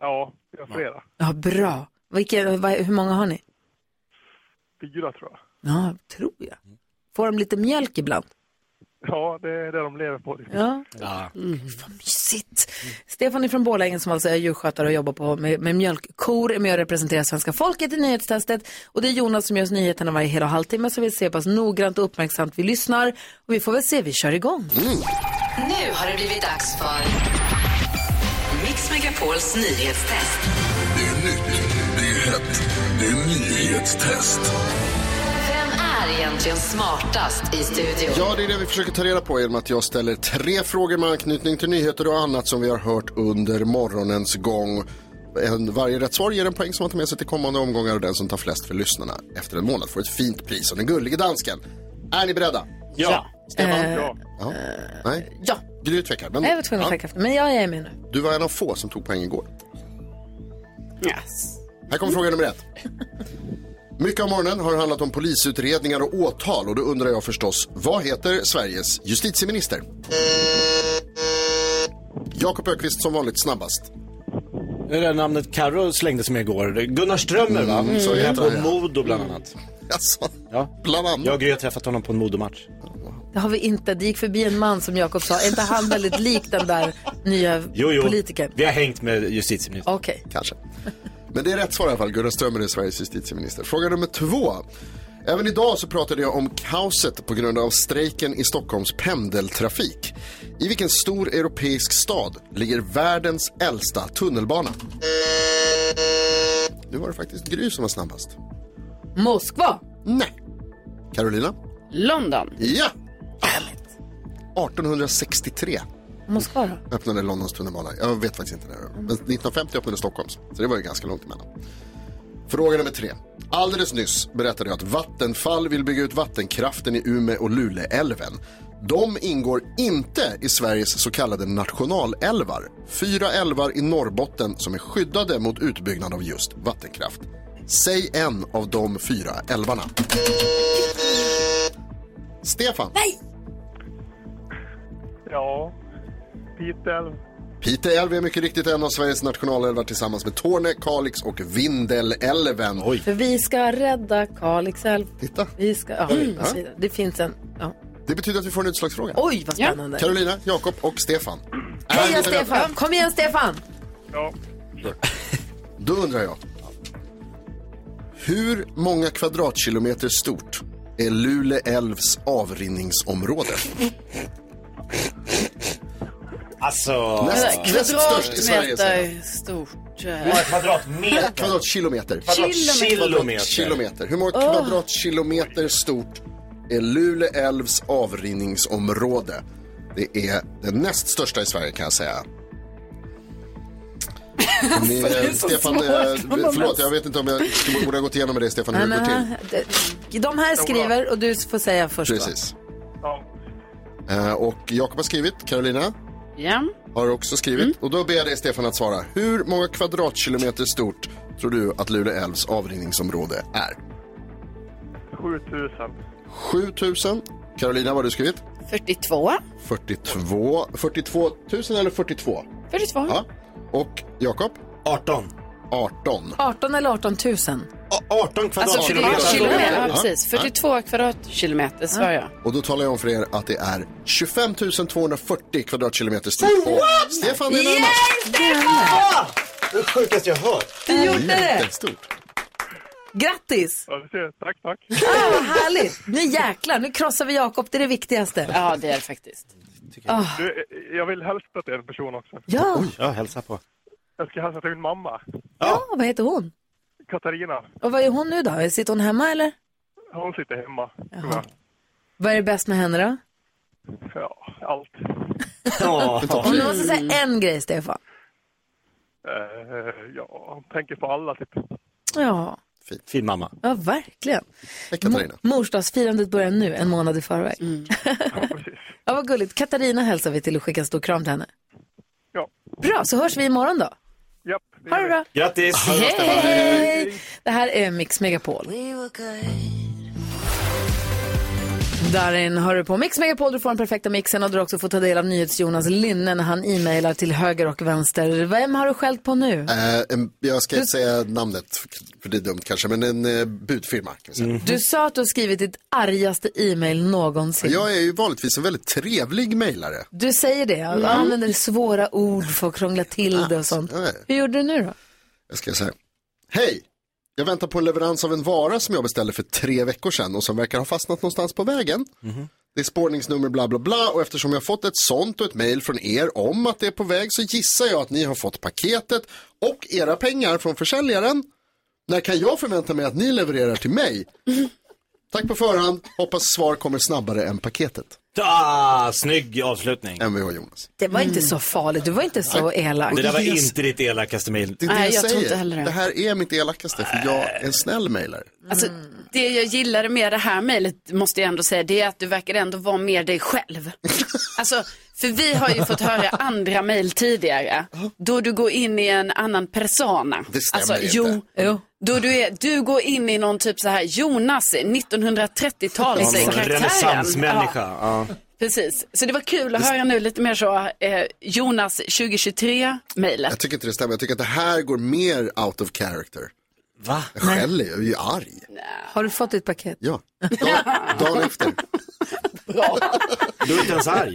Ja, jag har flera.
Ja, bra. Vilken, vad- hur många har ni?
Fyra tror jag.
Ja, tror jag. Får de lite mjölk ibland?
Ja, det är det de lever på. liksom.
Ja. Mm, vad mysigt. Stefan från Borlänge som alltså är djurskötare och jobbar på med, med mjölkkor är med och representerar svenska folket i nyhetstestet. Och det är Jonas som gör oss nyheterna varje hel och halvtimme så vi ser pass noggrant och uppmärksamt vi lyssnar. Och vi får väl se, vi kör igång.
Mm,
Nu har det blivit dags för Mix Megapols nyhetstest.
Det är nytt, det är hett, det är nyhetstest.
Vem är egentligen smartast i studion?
Ja, det är det vi försöker ta reda på genom att jag ställer tre frågor med anknytning till nyheter och annat som vi har hört under morgonens gång. En, varje rätt svar ger en poäng som man tar med sig till kommande omgångar och den som tar flest för lyssnarna efter en månad får ett fint pris och den gullige dansken. Är ni beredda?
Ja.
Stefan?
Eh,
ja. Nej?
Ja.
Gry tvekar. men-
Nej, jag var tvungen att
Ja.
tacka efter, men jag är med nu.
Du var en av få som tog poäng igår. Här kommer fråga nummer ett. Mycket av morgonen har handlat om polisutredningar och åtal och då undrar jag förstås, vad heter Sveriges justitieminister? Jakob Ökvist som vanligt snabbast.
Det är det namnet Carro slängde sig med igår. Det är Gunnar Strömmer va?
Mm, så
Så
heter
är på
han, ja.
Modo bland annat.
Jaså?
Ja.
Bland annat?
Jag och Gry har träffat honom på en Modomatch.
Det har vi inte. Det gick förbi en man som Jakob sa. Är inte han väldigt lik den där nya
Jo, jo.
politikern?
Vi har hängt med justitieministern.
Okej.
Kanske. Men det är rätt svar i alla fall. Gunnar Strömmer är Sveriges justitieminister. Fråga nummer två. Även idag så pratade jag om kaoset på grund av strejken i Stockholms pendeltrafik. I vilken stor europeisk stad ligger världens äldsta tunnelbana? Nu var det faktiskt Gry som var snabbast.
Moskva?
Nej. Carolina?
London.
Ja! Ah. 1863
Moskva då?
öppnade Londons tunnelbana. Jag vet faktiskt inte när det var. Men 1950 öppnade Stockholms. Så det var ju ganska långt emellan. Fråga nummer tre. Alldeles nyss berättade jag att Vattenfall vill bygga ut vattenkraften i Ume och Luleälven. De ingår inte i Sveriges så kallade nationalälvar. Fyra älvar i Norrbotten som är skyddade mot utbyggnad av just vattenkraft. Säg en av de fyra älvarna. Stefan. Nej!
Ja, Piteälv.
Piteå älv är mycket riktigt en av Sveriges nationalälvar tillsammans med Torne, Kalix och Vindelälven.
För vi ska rädda Kalix älv.
Titta.
Vi ska, ja,
Mm.
och så vidare. Det finns en... Ja.
Det betyder att vi får en utslagsfråga.
Oj, vad spännande.
Carolina, Jakob och Stefan.
(clears throat)
Är
Heja
ni beredda?
Stefan! Kom igen Stefan!
Då undrar jag. Hur många kvadratkilometer stort är Lule älvs avrinningsområde?
Alltså...
Näst, näst störst i Sverige. säger jag.
Kvadratmeter stort. eh,
Nej, Nej, Kvadratkilometer.
Kilometer.
Kvadratkilometer. Hur många
Åh.
kvadratkilometer stort är Lule älvs avrinningsområde? Det är det näst största i Sverige kan jag säga. Ni,
(laughs) det är
eh,
så
Stefan,
svårt.
eh, förlåt, jag vet inte om jag skulle- borde ha gått igenom med det Stefan, hur det går till.
de, eh, de här skriver och du får säga först. va?
Precis. Eh, Och Jakob har skrivit, Carolina
Ja.
har också skrivit.
Mm.
Och då ber jag dig Stefan att svara. Hur många kvadratkilometer stort tror du att Lule älvs avrinningsområde är?
7000.
7000. Carolina, vad har du skrivit?
42.
42. 42 000 eller 42?
42.
Ja. Och Jakob? 18. 18.
18 eller 18 000?
18
kvadratkilometer.
Alltså, det
Kilometer.
är kilometer. Ja,
Ja.
precis. 42 kvadratkilometer svarar jag.
Och då talar jag om för er att det är 25 240 kvadratkilometer stort.
Oh, what?
Och Stefan är
Yes,
närmast. Det sjukaste jag hört.
Du gjorde det.
Stort.
Grattis!
Tack, tack.
Ah, vad härligt! Nu jäklar, nu krossar vi Jakob, det är det viktigaste.
Ja, det är det faktiskt.
Ah.
Du, eh, jag vill hälsa till en person också.
Ja.
Oj, ja, hälsa på.
Jag ska hälsa till min mamma,
Ja, vad heter hon?
Katarina.
Och vad är hon nu då? Sitter hon hemma eller?
Hon sitter hemma, tror jag.
Vad är det bäst med henne då?
Ja, allt.
Om du måste säga en grej, Stefan.
Eh, ja, tänker på alla typ.
Ja,
Fin,
fin mamma.
ja verkligen.
Katarina.
Morsdagsfirandet börjar nu, en månad i förväg. (laughs) ja, vad gulligt. Katarina hälsar vi till och skickar en stor kram till henne.
Ja.
Bra, så hörs vi imorgon då.
Japp.
Ha det bra.
Grattis!
Hej, hej! Det här är Mix Megapol. Darin hör du på Mix Megapol, du får den perfekta mixen och du också får ta del av NyhetsJonas lynne när han e-mailar till höger och vänster. Vem har du skällt på nu?
Eh, en- jag ska inte säga namnet, för- för det är dumt kanske, men en eh, budfirma. Kan vi säga.
Du sa att du har skrivit ditt argaste e-mail någonsin.
Jag är ju vanligtvis en väldigt trevlig mejlare.
Du säger det,
Mm.
du använder svåra ord för att krångla till det och sånt. Hur gjorde du nu då?
Jag ska säga, hej! Jag väntar på en leverans av en vara som jag beställde för tre veckor sedan och som verkar ha fastnat någonstans på vägen. Det är spårningsnummer bla bla bla och eftersom jag fått ett sånt och ett mail från er om att det är på väg så gissar jag att ni har fått paketet och era pengar från försäljaren. När kan jag förvänta mig att ni levererar till mig?
Mm.
Tack på förhand, hoppas svar kommer snabbare än paketet.
Ah, snygg avslutning. Mm.
Mvh Jonas.
Det var inte så farligt, du var inte så elak.
Det där var inte ditt elakaste mejl.
Det är det jag, säger. det. här är mitt elakaste för jag är en snäll mejlare.
Alltså, det jag gillade med det här mejlet, måste jag ändå säga, det är att du verkar ändå vara mer
(laughs)
dig själv. Alltså, för vi har ju fått höra andra mejl tidigare, då du går in i en annan persona.
Det stämmer
alltså,
inte.
Jo, Då du, är, du går in i någon typ så här Jonas,
alltså,
1930-tals
Ja, någon
karaktären.
renässansmänniska. Ja.
precis. Så det var kul att höra nu lite mer så, eh, Jonas 2023-mejlet.
Jag tycker inte det stämmer. Jag tycker att det här går mer out of character.
Va?
Jag skäller ju, jag är ju arg.
Har du fått ditt paket?
Ja, dagen, dagen efter.
Du är inte
(laughs)
ens arg.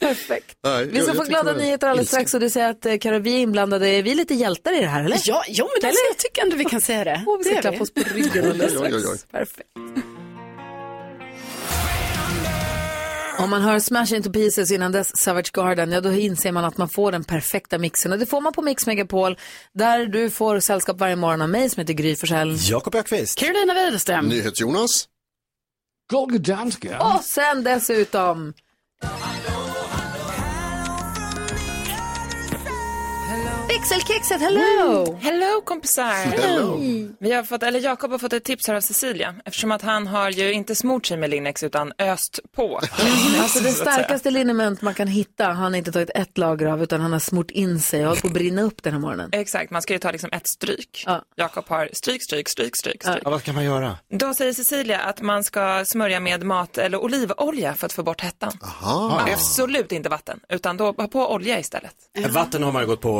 Perfekt.
Nej,
Vi ska
jag
få
tycker
glada
det är
nyheter alldeles
ilsken.
strax och du säger att eh, Karo, vi är inblandade. Är vi lite hjältar i det här eller?
Ja, ja men alltså, jag tycker ändå vi kan säga det.
Och vi
Det
ska
är
klappa
vi.
oss på ryggen alldeles
Oj,
strax.
oj, oj.
Perfekt. Om man hör Smash Into Pieces innan dess Savage Garden, ja då inser man att man får den perfekta mixen. Och det får man på Mix Megapol, där du får sällskap varje morgon av mig som heter Gry Forssell.
Jakob Ökvist.
Carolina Widerström.
NyhetsJonas.
Golge Danske.
Och sen dessutom... Växelkexet, hello!
Hello kompisar!
Hello.
Vi har fått, eller Jakob har fått ett tips här av Cecilia eftersom att han har ju inte smort sig med Linnex utan öst på.
(laughs) Alltså det
Så att säga.
starkaste liniment man kan hitta har han inte tagit ett lager av utan han har smort in sig och håller på att brinna upp den här morgonen.
Exakt, man ska ju ta liksom ett stryk. Jakob har stryk, stryk, stryk, stryk, stryk.
Ja, vad ska man göra?
Då säger Cecilia att man ska smörja med mat eller olivolja för att få bort hettan.
Aha.
Absolut inte vatten, utan då ha på olja istället.
Vatten har man ju gått på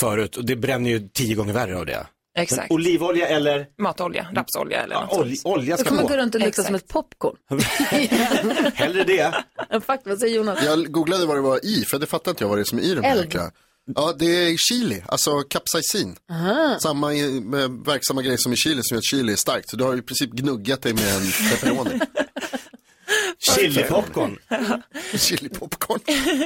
förut och det bränner ju tio gånger värre av det.
Exakt.
Men olivolja eller?
Matolja, rapsolja eller något
Ja, ol- olja
Då
ska
kommer man gå
på.
runt och lukta som ett popcorn.
Hellre det.
Fakt, vad säger Jonas?
Jag googlade vad det var i, för det fattar inte jag vad det är som är i de här
Eld.
jäkla. Ja, det är chili, alltså capsaicin.
Aha.
Samma i- med verksamma grej som i chili som gör att chili är starkt. Så du har i princip gnuggat dig med en pepperoni.
Chilipopcorn.
Chilipopcorn.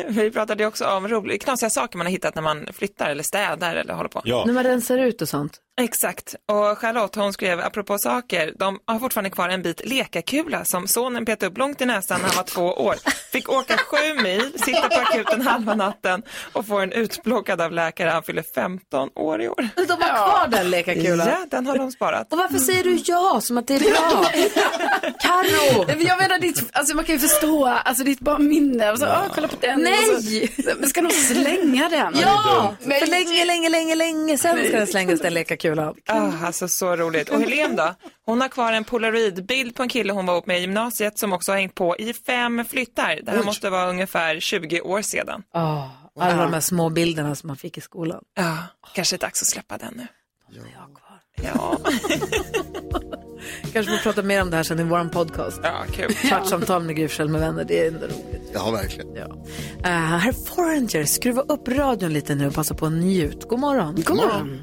(laughs) Vi pratade ju också om rolig, knasiga saker man har hittat när man flyttar eller städar eller håller på.
När man rensar ut och sånt.
Exakt, och Charlotte hon skrev apropå saker, de har fortfarande kvar en bit lekakula som sonen petade upp långt i näsan när han var två år. Fick åka sju mil, sitta på akuten halva natten och få den utplockad av läkare. Han fyller 15 år i år.
De har kvar den lekakulan.
Ja, den har de sparat. Mm.
Och varför säger du ja som att det är bra? Karo!
Nej, men Jag menar ditt, alltså man kan ju förstå, alltså ditt bara minne, och så, åh, kolla på den.
Nej!
Och Så, men ska de slänga den?
Ja! För länge, länge, länge, länge sen ska den slängas den lekakulan.
Ah, alltså så roligt. Och Helene då? Hon har kvar en polaroidbild på en kille hon var ihop med i gymnasiet som också har hängt på i fem flyttar. Det här
Oj.
måste vara ungefär 20 år sedan.
Oh, alla de här små bilderna som man fick i skolan.
Ja, kanske är dags att släppa den nu. Ja.
Kanske får prata mer om det här sen i vår podcast.
Ja, kul.
Kvartssamtal med Gry Forssell med vänner, det är ändå roligt.
Ja, verkligen.
Eh, herr Foreigner, skruva upp radion lite nu och passa på att njut. God morgon. God morgon.